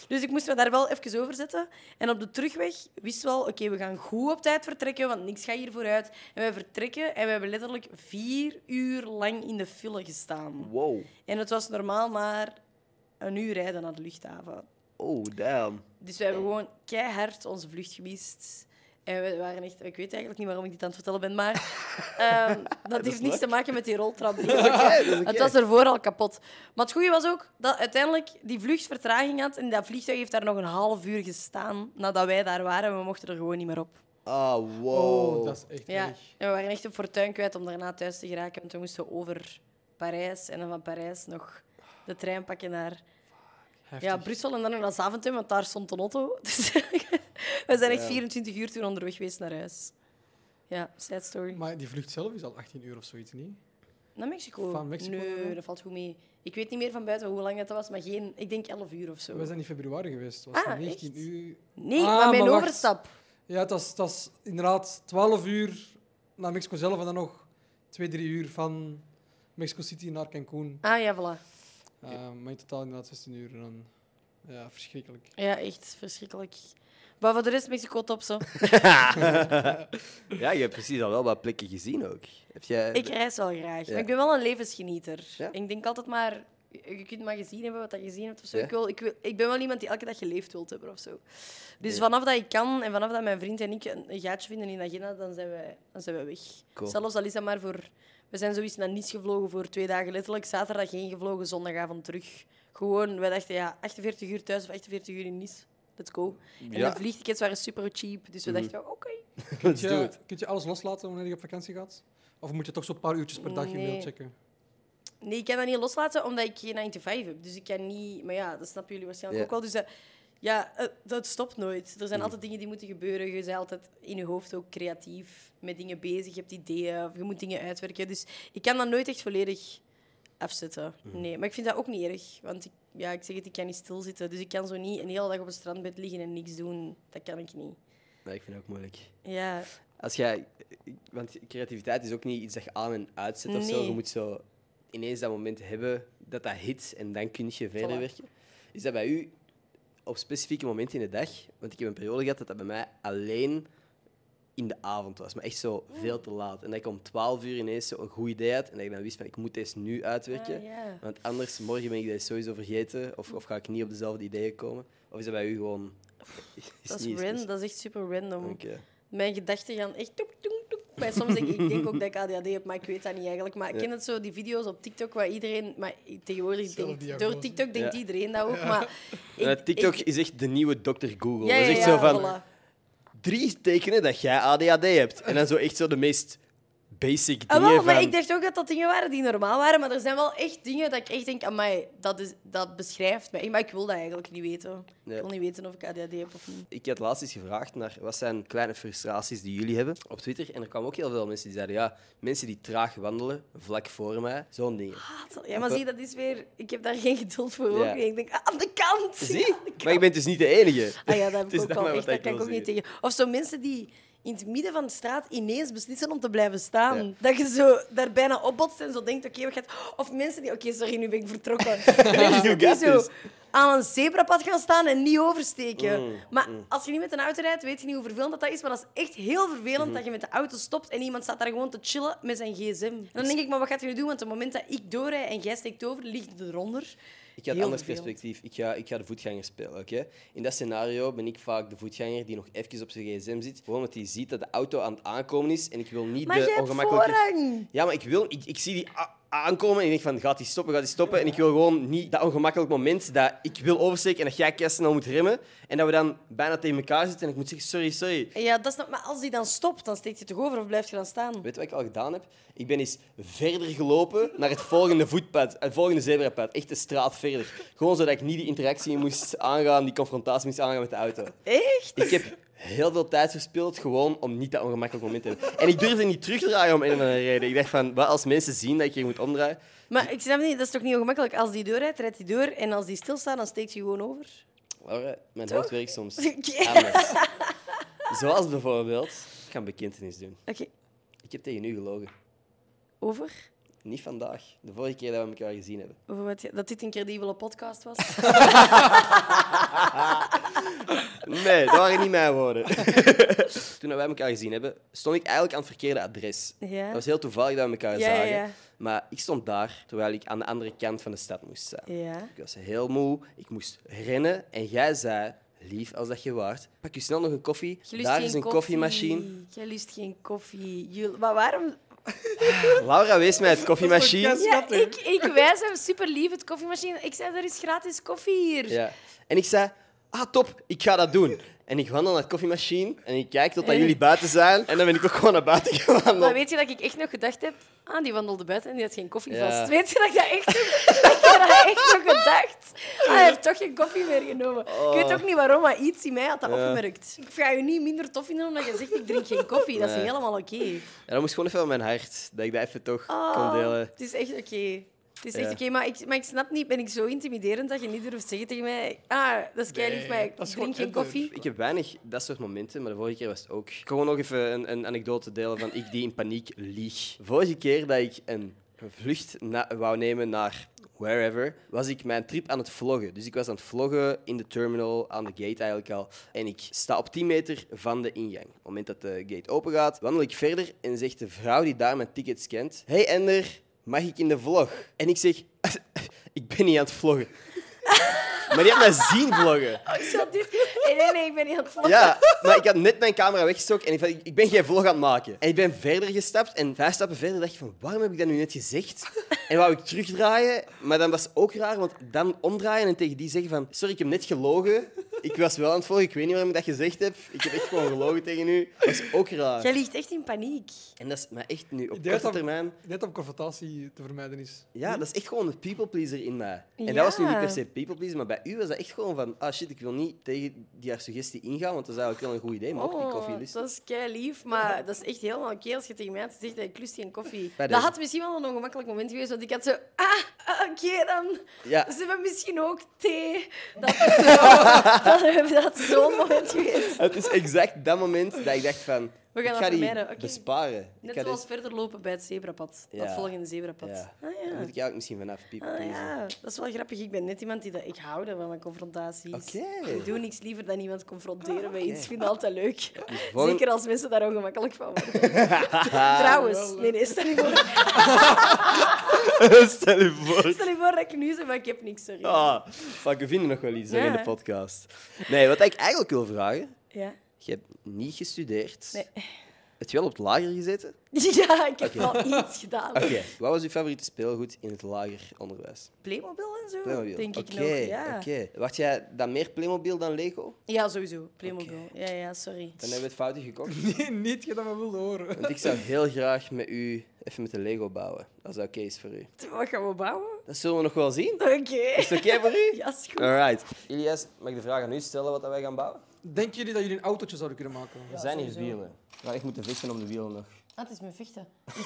Dus ik moest me daar wel even over zetten. En op de terugweg wist wel, oké, we gaan goed op tijd vertrekken, want niks gaat hier vooruit. En wij vertrekken en we hebben letterlijk vier uur lang in de file gestaan. Wow. En het was normaal maar een uur rijden naar de luchthaven. Oh, damn. Dus we hebben gewoon keihard onze vlucht gemist. En we waren echt... Ik weet eigenlijk niet waarom ik dit aan het vertellen ben, maar... ehm, dat heeft niks te maken met die roltrap. die- Het was ervoor al kapot. Maar het goede was ook dat uiteindelijk die vlucht vertraging had. En dat vliegtuig heeft daar nog een half uur gestaan nadat wij daar waren. We mochten er gewoon niet meer op. Ah, wow. Oh, dat is echt Ja. erg. En we waren echt een fortuin kwijt om daarna thuis te geraken. Want we moesten over Parijs en dan van Parijs nog de trein pakken naar Heftig. ja, Brussel en dan naar Zaventem, want daar stond een auto. Dus we zijn echt 24 uur toen onderweg geweest naar huis. Ja, sad story. Maar die vlucht zelf is al 18 uur of zoiets, niet? Naar Mexico? Van Mexico naar Nee, daar? dat valt goed mee. Ik weet niet meer van buiten hoe lang dat was, maar geen, ik denk 11 uur of zo. We zijn in februari geweest. Het was Ah, 19 echt? uur. Nee, Ah, maar mijn maar wacht. overstap. Ja, het was, het was inderdaad 12 uur naar Mexico zelf en dan nog 2, 3 uur van Mexico City naar Cancún. Ah ja, voilà. Eh, maar in totaal inderdaad 16 uur. En dan, ja, verschrikkelijk. Ja, echt verschrikkelijk. Maar voor de rest, Mexico top zo. ja, je hebt precies al wel wat plekken gezien ook. Heb jij... Ik reis wel graag. Ja. Maar ik ben wel een levensgenieter. Ja? Ik denk altijd maar, je je kunt maar gezien hebben wat dat je gezien hebt of zo. Ja. Ik, wil, ik, wil, ik ben wel iemand die elke dag geleefd wilt hebben of zo. Dus Nee. vanaf dat ik kan en vanaf dat mijn vriend en ik een een gaatje vinden in de agenda, dan zijn wij, dan zijn wij weg. Cool. Zelfs al is dat maar voor. We zijn zoiets naar Nice gevlogen voor twee dagen. Letterlijk zaterdag heen gevlogen, zondagavond terug. Gewoon, wij dachten ja, 48 uur thuis of 48 uur in Nice. Let's go. En Ja. Mhm. de vliegtickets waren super cheap. Dus we dachten, oké. Kun do je, it. kun je alles loslaten wanneer je op vakantie gaat? Of moet je toch zo'n paar uurtjes per dag je Nee. mail checken? Nee, ik kan dat niet loslaten omdat ik geen 9 to 5 heb. Dus ik kan niet. Maar ja, dat snappen jullie waarschijnlijk Ja. Mm. ook wel. Dus dat, ja, eh, dat stopt nooit. Er zijn altijd dingen die moeten gebeuren. Je bent altijd in je hoofd ook creatief met dingen bezig. Je hebt ideeën, of je moet dingen uitwerken. Dus ik kan dat nooit echt volledig afzetten. Mm. Nee, maar ik vind dat ook niet erg. Want ik, ja, ik zeg het, ik kan niet stilzitten. Dus ik kan zo niet een hele dag op het strandbed liggen en niks doen. Dat kan ik niet. Nee, ik vind het ook moeilijk. Ja, Als jij... ik- Want creativiteit is ook niet iets dat je aan en uitzet of zo. Nee. Je moet zo ineens dat moment hebben dat dat hit en dan kun je verder Voilà. werken. Is dat bij u op specifieke momenten in de dag? Want ik heb een periode gehad dat dat bij mij alleen in de avond was, maar echt zo Ah. veel te laat. En dat ik om 12 uur ineens zo een goed idee had en dat ik dan wist van ik moet deze nu uitwerken. Ah, ja. Want anders, morgen ben ik deze sowieso vergeten of, of ga ik niet op dezelfde ideeën komen. Of is dat bij u gewoon... dat is niet random. specif- Dat is echt super random. Oké. Mijn gedachten gaan echt toep, toep, toep. Maar soms denk ik, ik denk ook dat ik ADHD heb, maar ik weet dat niet eigenlijk. Maar ik ken het zo, die video's op TikTok waar iedereen... Maar tegenwoordig Zelfde denkt... diagnose. Door TikTok denkt Ja. iedereen dat ook, maar... ik- Eh, TikTok ik- is echt de nieuwe Dr. Google. dat Ja, ja, is echt ja, zo van voilà. drie tekenen dat jij ADHD hebt. En dan zo echt zo de meest basic Ah, dingen wel, maar van... ik dacht ook dat dat dingen waren die normaal waren, maar er zijn wel echt dingen dat ik echt denk, amai, dat, is, dat beschrijft mij. Maar ik wil dat eigenlijk niet weten. Ja. Ik wil niet weten of ik ADHD heb of niet. Ik had laatst eens gevraagd naar wat zijn kleine frustraties die jullie hebben op Twitter. En er kwamen ook heel veel mensen die zeiden, ja, mensen die traag wandelen, vlak voor mij, zo'n dingen. Haat- Ah, Ja, maar zie, dat is weer... Ik heb daar geen geduld voor. Ja. Ook. Ik denk, ah, aan de kant! Zie? Ja, aan de Maar je bent dus niet de enige. Ah ja, dat heb Het is ik ook dat al. maar Echt, wat daar ik kan ik wil ook niet tegen. Of zo mensen die in het midden van de straat ineens beslissen om te blijven staan. Dat je zo daar bijna opbotst en zo denkt, oké, we gaan... Of mensen die, oké, sorry, nu ben ik vertrokken. mensen die got zo this. aan een zebrapad gaan staan en niet oversteken. Mm, maar als je niet met een auto rijdt, weet je niet hoe vervelend dat, dat is. Maar dat is echt heel vervelend Mhm. dat je met de auto stopt en iemand staat daar gewoon te chillen met zijn gsm. En dan denk ik, maar wat gaat je nu doen? Want op het moment dat ik doorrijd en jij steekt over, ligt het eronder. Ik ga Heel het anders vervelend. perspectief. Ik ga, ik ga de voetganger spelen. oké? In dat scenario ben ik vaak de voetganger die nog even op zijn gsm zit. Gewoon omdat hij ziet dat de auto aan het aankomen is. En ik wil niet Maar de jij hebt ongemakkelijke. voorrang. Ja, maar ik, wil, ik, ik zie die a- aankomen en ik denk van gaat hij stoppen, gaat hij stoppen. En ik wil gewoon niet dat ongemakkelijk moment dat ik wil oversteken en dat jij keihard snel moet remmen. En dat we dan bijna tegen elkaar zitten en ik moet zeggen sorry, sorry. Ja, dat snap, maar als die dan stopt, dan steekt je toch over of blijf je dan staan? Weet je wat ik al gedaan heb? Ik ben eens verder gelopen naar het volgende voetpad, het volgende zebrapad. Echt de straat verder. Gewoon zodat ik niet die interactie moest aangaan, die confrontatie moest aangaan met de auto. Echt? Ik heb heel veel tijd verspild gewoon om niet dat ongemakkelijk moment te hebben. En ik durfde niet terug te draaien om een of andere reden. Ik dacht van, wat als mensen zien dat ik hier moet omdraaien? Maar ik snap niet, dat is toch niet ongemakkelijk? Als die doorrijdt, rijdt die door. En als die stilstaat, dan steekt je gewoon over. Alright, mijn hoofd werkt soms Oké. anders. Zoals bijvoorbeeld, ik ga een bekentenis doen. Oké. Ik heb tegen u gelogen. Over? Niet vandaag. De vorige keer dat we elkaar gezien hebben. Over wat, je- dat dit een credibele podcast was? Nee, dat waren niet mijn woorden. Toen wij elkaar gezien hebben, stond ik eigenlijk aan het verkeerde adres. Ja. Dat was heel toevallig dat we elkaar Ja, ja, zagen. ja. Maar ik stond daar, terwijl ik aan de andere kant van de stad moest staan. Ja. Ik was heel moe, ik moest rennen en jij zei, lief als dat je waart, pak je snel nog een koffie. Je lust Daar geen is een koffie. koffiemachine. Jij lust geen koffie. Jul- Maar waarom... Laura wees mij het koffiemachine. Ja, ik, ik wijs hem super lief het koffiemachine. Ik zei, er is gratis koffie hier. Ja. En ik zei, ah top, ik ga dat doen. En ik wandel naar het koffiemachine en ik kijk tot dat jullie buiten zijn. En dan ben ik ook gewoon naar buiten Maar gewandeld. weet je dat ik echt nog gedacht heb? Ah, die wandelde buiten en die had geen koffie Ja. vast. Weet je dat ik dat echt, nog- ik heb dat echt nog gedacht? Ah, hij heeft toch geen koffie meer genomen. Ik weet ook niet waarom, maar iets in mij had dat Oh. Ja. opgemerkt. Ik ga je niet minder tof vinden omdat je zegt ik drink geen koffie. Dat is Nee. helemaal oké. En dat moest gewoon even aan mijn hart, dat ik dat even toch kon Ah, delen. het is echt oké. Het is echt Ja. oké, maar, ik, maar ik snap niet, ben ik zo intimiderend dat je niet durft zeggen tegen mij... Ah, dat is keilief, Nee, maar ik dat is drink gewoon geen koffie. Ik heb weinig dat soort momenten, maar de vorige keer was het ook. Ik kan gewoon nog even een, een anekdote delen van ik die in paniek lieg. Vorige keer dat ik een vlucht na- wou nemen naar wherever, was ik mijn trip aan het vloggen. Dus ik was aan het vloggen in de terminal, aan de gate eigenlijk al. En ik sta op 10 meter van de ingang. Op het moment dat de gate open gaat, wandel ik verder en zegt de vrouw die daar mijn ticket scant... Hey Ender, mag ik in de vlog? En ik zeg... Ik ben niet aan het vloggen. Maar die had mij zien vloggen. Ik zat Oh, dit... Nee, nee, nee, ik ben niet aan het vloggen. Ja, maar ik had net mijn camera weggestoken en ik dacht, ik ben geen vlog aan het maken. En ik ben verder gestapt en vijf stappen verder dacht ik van, waarom heb ik dat nu net gezegd? En wou ik terugdraaien, maar dan was het ook raar, want dan omdraaien en tegen die zeggen van, sorry, ik heb net gelogen. Ik was wel aan het volgen, ik weet niet waarom ik dat gezegd heb. Ik heb echt gewoon gelogen tegen u. Dat is ook raar. Jij ligt echt in paniek. En dat is maar echt nu, op Ik korte denk dat- termijn, Ik denk dat confrontatie te vermijden is. ja, dat is echt gewoon een people pleaser in mij. En Ja. dat was nu niet per se people pleaser, maar bij u was dat echt gewoon van, ah shit, ik wil niet tegen die haar suggestie ingaan, want dat is eigenlijk wel een goed idee, maar ook die koffie Oh, dat is kei lief, maar dat is echt helemaal oké als je tegen mij had gezegd dat ik lust geen koffie. Bij Dat deze. had misschien wel een ongemakkelijk moment geweest, want ik had zo, ah, ah, oké dan. Ja, Ze hebben misschien ook thee. Dat is zo- dat hebben- dat is zo'n moment geweest. Het is exact dat moment dat ik dacht van... We gaan ik dat ga die vermijden, oké. besparen. Net ik ga zoals dit- verder lopen bij het zebrapad. Ja. Dat volgende zebrapad. Ja. Ah, Daar ja. moet ik eigenlijk misschien vanaf piepen. Ah, please. ja, dat is wel grappig. Ik ben net iemand die dat... Ik hou daarvan, van confrontaties. Oké. Ah, Ik doe niks liever dan iemand confronteren bij iets. Ik vind dat altijd leuk. volgende- Zeker als mensen daar ongemakkelijk van worden. Trouwens, nee, nee, stel je voor, Stel je voor. stel je voor dat ik nu zeg, maar ik heb niks, sorry. Ah, fuck, we vinden nog wel iets hè, Ja, in de hè. podcast. Nee, wat ik eigenlijk wil vragen... Ja. Je hebt niet gestudeerd. Nee. Heb je wel op het lager gezeten? ja, ik heb wel iets gedaan. Oké. Wat was je favoriete speelgoed in het lager onderwijs? Playmobil en zo, Playmobil. Oh, denk ik Oké, nog. Ja. Oké. Wacht jij dan meer Playmobil dan Lego? ja, sowieso. Playmobil. Ja, ja, sorry. Dan hebben we het foutje gekocht. Nee, niet je dat we wilden horen. Want ik zou heel graag met u even met de Lego bouwen. Als dat oké is voor u. Wat gaan we bouwen? Dat zullen we nog wel zien. Oké. Is het oké voor u? Ja, is goed. Alright. Ilias, mag ik de vraag aan u stellen wat dat wij gaan bouwen? Denken jullie dat jullie een autootje zouden kunnen maken? We zijn hier wielen. Maar ik moet de vissen om de wielen nog. Ah, het is mijn vechten. Dat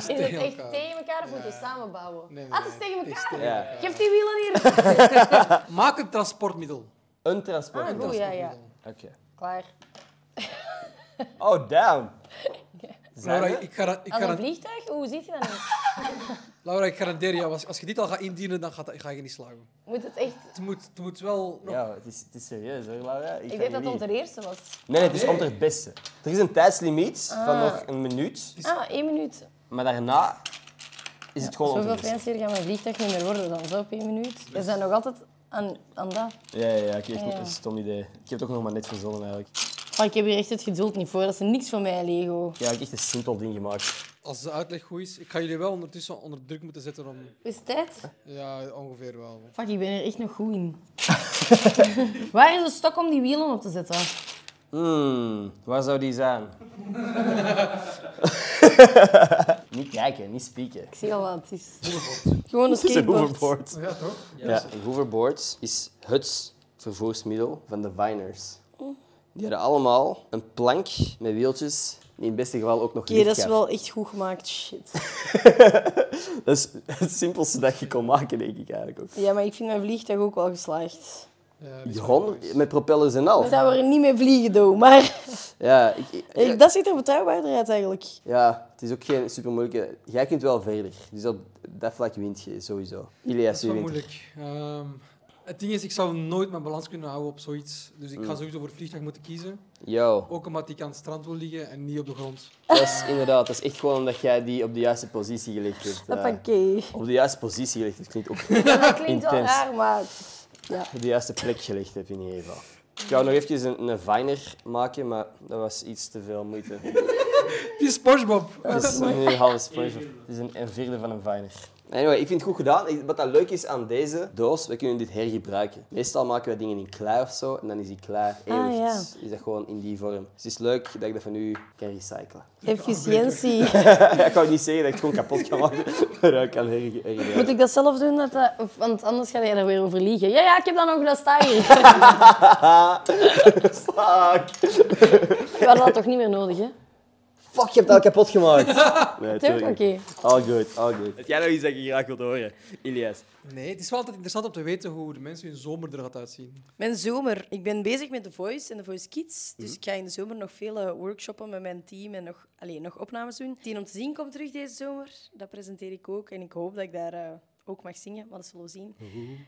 Is het tegen echt elkaar. tegen elkaar of moet je samen bouwen? Nee, nee, Ah, het is nee, tegen het is elkaar. tegen Ja. elkaar. Geef die wielen hier. Maak een transportmiddel. Een transport. Ah, goed, ja, ja. Oké. Klaar. Oh, damn. Zijn Laura, we? ik, gara- ik, Als een garan- vliegtuig? Hoe ziet je dat nou? Laura, ik garandeer je, als, als je dit al gaat indienen, dan gaat, dat- ga je niet slagen. Moet het echt... Het moet, het moet wel... nog- Ja, het is, het is serieus hoor, Laura. Ik weet denk dat het Ah. onze eerste was. Nee, nee, het is onder het beste. Er is een tijdslimiet van nog een minuut. Ah, één minuet. Maar daarna is het gewoon Zoveel onder het fancier gaan mijn vliegtuig niet meer worden dan zo op één minuut. We zijn nog altijd aan, aan dat. Ja, ja, ja. Ik heb echt Ja. een stom idee. Ik heb het ook nog maar net verzonnen eigenlijk. Maar Ah, ik heb hier echt het geduld niet voor. Dat is niks voor mij, Lego. Ja, ik heb echt een simpel ding gemaakt. Als de uitleg goed is, ik ga jullie wel ondertussen onder druk moeten zetten om... Is het tijd? Ja, ongeveer wel. Fuck, ik ben er echt nog goed in. Waar is de stok om die wielen op te zetten? Hmm, waar zou die zijn? niet kijken, niet spieken. Ik zie al wat het is. Gewoon een Het is een skateboard. hoverboard. Ja, toch? Ja, een hoverboard is het vervoersmiddel van de viners. Oh. Die hadden allemaal een plank met wieltjes, die in het beste geval ook nog Oké, licht dat is gaf. wel echt goed gemaakt. Shit. Dat is het simpelste dat je kon maken, denk ik eigenlijk ook. Ja, maar ik vind mijn vliegtuig ook wel geslaagd. Ja, Gewoon met propellers en al. We zouden er niet mee vliegen, though, maar... Ja, ik, ik- Eh, Dat ziet er betrouwbaarder uit eigenlijk. ja, het is ook geen super moeilijke. Jij kunt wel verder. Dus op dat vlak wint je sowieso. Dat Ilias, is wie wel wint er? moeilijk. Ehm, het ding is, ik zou nooit mijn balans kunnen houden op zoiets. Dus Mm. ik ga sowieso voor het vliegtuig moeten kiezen. Yo. Ook omdat ik aan het strand wil liggen en niet op de grond. Dat is inderdaad, dat is echt gewoon omdat jij die op de juiste positie gelegd hebt. Dat eh. pakket. op de juiste positie gelegd, dat klinkt ook Dat klinkt wel Intens. raar, maar... op de juiste plek gelegd hebt in ieder geval. Ik wou nog eventjes een, een viner maken, maar dat was iets te veel moeite. Die is SpongeBob. Het is nu een halve sponsor. Het is een, een vierde van een viner. Anyway, ik vind het goed gedaan. Ik- Wat dat leuk is aan deze doos, we kunnen dit hergebruiken. Meestal maken we dingen in klei of zo en dan is die klei eeuwig. Dus Ah, ja. Is dat gewoon in die vorm. Dus het is leuk dat ik dat van u kan recyclen. Efficiëntie. ik kan niet zeggen dat ik het gewoon kapot kan maken, maar ik kan herge- hergebruiken. Moet ik dat zelf doen? Dat dat- of- want anders ga jij er weer over liegen. Ja, ja, ik heb dat nog, dat staat hier. Fuck! We hadden dat toch niet meer nodig, hè? Fuck, je hebt dat al kapot gemaakt. Nee, Toch? Oké. tuurlijk niet. All good, all good. Heb jij nog iets dat je graag wilt horen, Ilias? Nee, het is wel altijd interessant om te weten hoe de mensen hun zomer er gaat uitzien. Mijn zomer. Ik ben bezig met The Voice en The Voice Kids. Mhm. Dus ik ga in de zomer nog veel eh, workshoppen met mijn team en nog, allee, nog opnames doen. Tien om te zien komt terug deze zomer. Dat presenteer ik ook. En ik hoop dat ik daar eh, ook mag zingen, maar dat zullen we zien.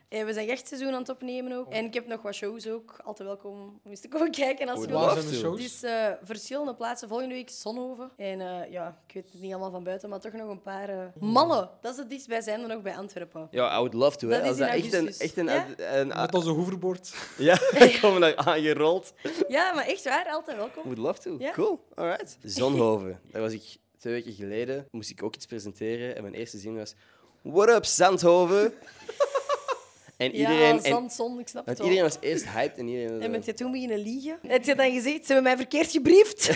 En we zijn echt seizoen aan het opnemen ook. En ik heb nog wat shows ook. Altijd welkom om eens te komen kijken als je Waar love Waar wilt. zijn de to. shows? Dus eh, verschillende plaatsen. Volgende week Zonhoven. En eh, ja, ik weet het niet allemaal van buiten, maar toch nog een paar... eh, Malle, dat is het dichtstbijzijnde nog bij Antwerpen. Ja, I would love to. Dat hè. is Als dat in echt een... augustus. Echt een, Ja? een, Met onze hoverboard. ja, ik kom daar aangerold. Ja, maar echt waar, altijd welkom. Would love to. Ja? Cool, alright. Zonhoven, daar was ik twee weken geleden. Moest ik ook iets presenteren en mijn eerste zin was... What up, Zandhoven? en iedereen... ja, en, zandzon, ik want snap het wel. iedereen was eerst hyped en iedereen... En bent je toen beginnen liegen? Heb je dan gezegd, ze hebben mij verkeerd gebriefd?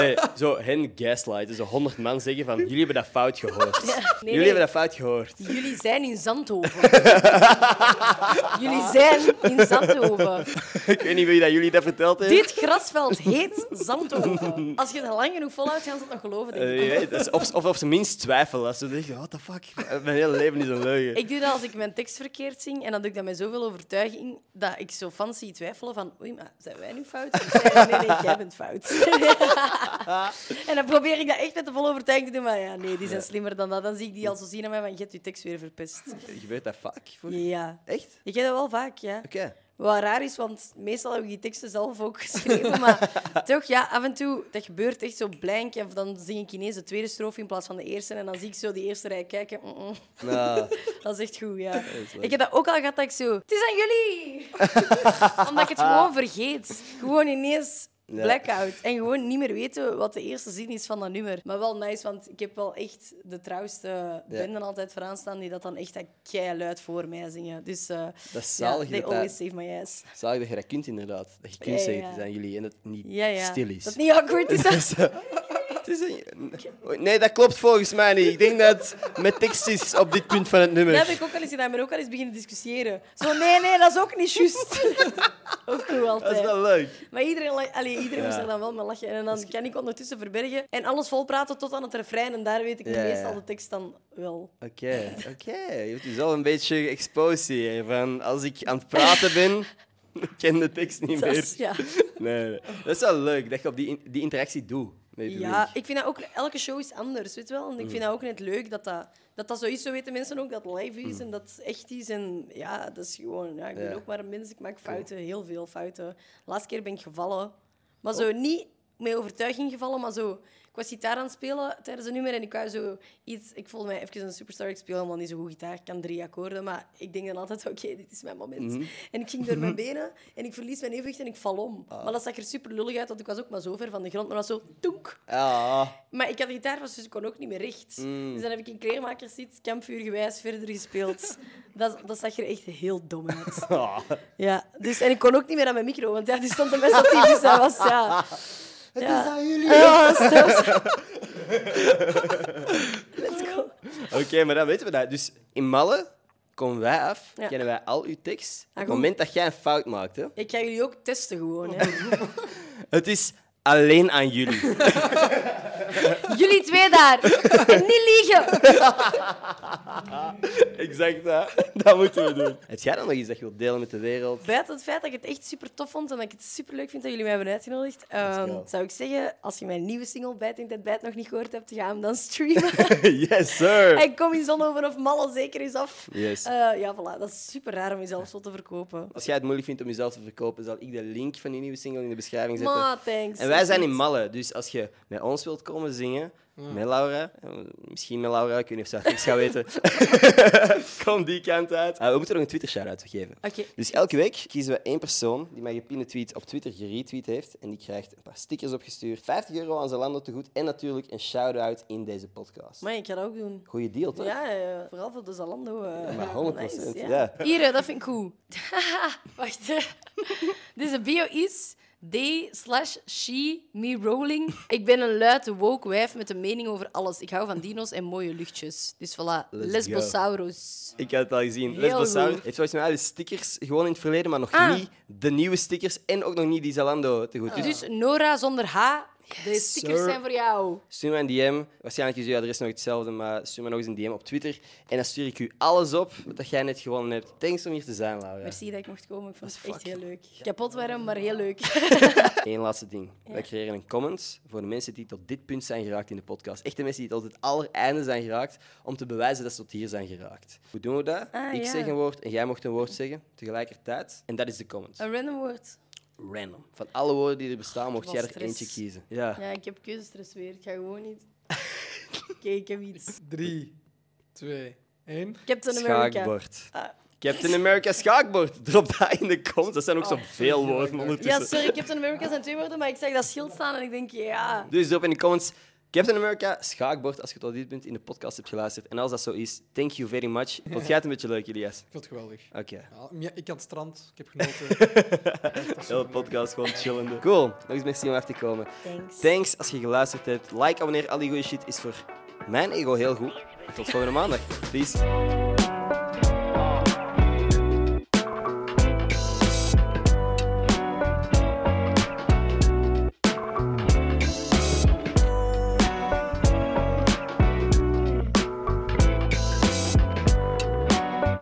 Nee, zo hen gaslighten, zo honderd man zeggen van... Jullie hebben dat fout gehoord. nee. Jullie hebben dat fout gehoord. Jullie zijn in Zandhoven. Jullie zijn in Zandhoven. Ik weet niet wie dat jullie dat verteld heeft. Dit grasveld heet Zandhoven. Als je het lang genoeg volhoudt, gaan ze het nog geloven. Denk ik. Eh, je weet, dat is op, of op zijn minst twijfel. Als ze denken, what the fuck, mijn hele leven is een leugen. Ik doe dat als ik mijn tekst verkeerd zing en dan doe ik dat met zoveel overtuiging dat ik zo fancy twijfelen van oei, maar zijn wij nu fout? Of zijn- Nee, nee, jij bent fout. en dan probeer ik dat echt met de volle overtuiging te doen, maar ja, nee, die zijn slimmer dan dat. Dan zie ik die al zo zien aan mij van je hebt je tekst weer verpest. Gebeurt dat vaak? Voor... Ja. Echt? Ik heb dat wel vaak, ja. Oké. Wat raar is, want meestal heb ik die teksten zelf ook geschreven, maar toch, ja, af en toe, dat gebeurt echt zo blank. En dan zing ik ineens de tweede strofe in plaats van de eerste en dan zie ik zo die eerste rij kijken. Mm, mm. Nou, Dat is echt goed, ja. is leuk. Ik heb dat ook al gehad dat ik zo... Het is aan jullie! Omdat ik het gewoon vergeet. Gewoon ineens Ja. blackout. En gewoon niet meer weten wat de eerste zin is van dat nummer. Maar wel nice, want ik heb wel echt de trouwste Ja. benden altijd vooraan staan die dat dan echt dat luid voor mij zingen. Dus eh dat is ja, zalig, they dat, always dat, save my ass. zalig dat je dat kunt, inderdaad. Dat je kunt Ja, ja, zeggen, ja. het is aan jullie en dat het niet Ja, ja. stil is. Dat het niet awkward is. hè? Het is een- Nee, dat klopt volgens mij niet. Ik denk dat het met tekst is op dit punt van het nummer. Dat heb ik ook al eens gedaan. Ik ben ook al eens beginnen discussiëren. Zo, nee, nee, dat is ook niet juist. ook goed altijd. Dat is wel leuk. Maar iedereen, la- allee, iedereen Ja. Dus- moest er dan wel mee lachen. En dan kan ik ondertussen verbergen en alles volpraten tot aan het refrein. En daar weet ik Ja, ja, ja. meestal de tekst dan wel. Oké, oké. Je hebt jezelf een beetje exposed hier. Van, als ik aan het praten ben, ik ken de tekst niet Dat meer. is- ja. Nee, nee. dat is wel leuk dat je op die, in- die interactie doet. met je publiek. ja, ik vind dat ook... Elke show is anders, weet je wel? En ik vind dat ook net leuk dat dat, dat dat zo is. Zo weten mensen ook dat het live is en dat het echt is. En ja, dat is gewoon... Ja, ik ben Ja. ook maar een mens. Ik maak fouten. Heel veel fouten. Laatste keer ben ik gevallen. Maar zo niet met overtuiging gevallen, maar zo... Ik was gitaar aan het spelen tijdens een nummer en ik wou zo iets... Ik voelde mij even een superstar. Ik speel helemaal niet zo goed gitaar. Ik kan drie akkoorden, maar ik denk dan altijd, oké, dit is mijn moment. En ik ging door mijn benen en ik verlies mijn evenwicht en ik val om. Maar dat zag er super lullig uit, want ik was ook maar zo ver van de grond. Maar dat was zo... Toenk! Ah, Maar ik had de gitaar vast, dus ik kon ook niet meer recht. Dus dan heb ik in kleermakersziet, kampvuurgewijs, verder gespeeld. dat, dat zag er echt heel dom uit. Ja, dus, en ik kon ook niet meer aan mijn micro, want ja, die stond op mijn statief, dus dat was... Ja, het is aan jullie. Ja, dat was- Let's go. Oké, maar dan weten we dat. Dus in Malle komen wij af, Ja. kennen wij al uw tekst. op het goed. moment dat jij een fout maakt. Hè. Ik ga jullie ook testen gewoon. Hè. Het is alleen aan jullie. Jullie twee daar. En niet liegen. exact, dat. dat moeten we doen. Heb jij dan nog iets dat je wilt delen met de wereld? Buiten het feit dat ik het echt super tof vond en dat ik het super leuk vind dat jullie mij hebben uitgenodigd, ehm, go. zou ik zeggen: als je mijn nieuwe single Bijt in Tijd Bijt nog niet gehoord hebt, ga hem dan streamen. yes, sir. en kom in Zonhoven of Malle zeker eens af. Yes. Eh, ja, voilà. Dat is super raar om jezelf zo te verkopen. Als jij het moeilijk vindt om jezelf te verkopen, zal ik de link van die nieuwe single in de beschrijving zetten. Ma, thanks. En wij zijn in Malle, dus als je met ons wilt komen zingen, met Laura, eh, misschien met Laura, ik weet niet of ze dat niks gaat weten, kom die kant uit. Ah, we moeten nog een Twitter-shout-out geven. Oké. Dus elke week kiezen we één persoon die mijn gepinde tweet op Twitter geretweet heeft. En die krijgt een paar stickers opgestuurd, 50 euro aan Zalando te goed en natuurlijk een shout-out in deze podcast. Maar ik ga dat ook doen. Goeie deal, toch? Ja, eh, vooral voor de Zalando. eh, Maar 100 procent, nice, ja. Hier, eh, dat vind ik cool. Wacht. eh. Deze bio is... They slash she me rolling. Ik ben een luide woke wijf met een mening over alles. Ik hou van dino's en mooie luchtjes. Dus voilà, Let's lesbosaurus. Ik had het al gezien. Heel Lesbos Sound goed. heeft volgens mij alle stickers gewoon in het verleden, maar nog Ah. niet de nieuwe stickers en ook nog niet die Zalando te goed. Dus Dus Nora zonder H, de stickers sir. zijn voor jou. stuur mij een DM. Waarschijnlijk is uw adres nog hetzelfde, maar stuur mij nog eens een DM op Twitter. En dan stuur ik u alles op wat jij net gewonnen hebt. Thanks om hier te zijn, Laura. Merci dat ik mocht komen. Ik vond het echt fucking- heel leuk. Kapot warm, maar heel leuk. Eén laatste ding. Wij creëren een comment voor de mensen die tot dit punt zijn geraakt in de podcast. Echt de mensen die tot het allereinde zijn geraakt, om te bewijzen dat ze tot hier zijn geraakt. Hoe doen we dat? Ah, ik ja. zeg een woord en jij mocht een woord zeggen tegelijkertijd. En dat is de comment. Een random woord. Random. Van alle woorden die er bestaan, mocht wat jij er stress. eentje kiezen. Ja. Ja, ik heb keuzestress weer. Ik ga gewoon niet. Oké, ik heb iets. Drie, twee, één. Captain America. Ah. Schaakbord. Captain America schaakbord. Drop dat in de comments. Dat zijn ook zoveel woorden Oh. Ja, ondertussen. sorry, Captain America zijn twee woorden, maar ik zag dat schild staan en ik denk, ja. Dus drop in de comments Captain America schaakbord als je tot dit punt in de podcast hebt geluisterd. En als dat zo is, thank you very much. Vond jij het een beetje leuk, Elias? Ik vond het geweldig. Oké. Ja, ja, ik aan het strand, ik heb genoten. Hele podcast gewoon chillende. Cool. Nog eens merci om af te komen. Thanks. Thanks als je geluisterd hebt. Like, abonneer, al die goede shit is voor mijn ego heel goed. En tot volgende maandag. Peace.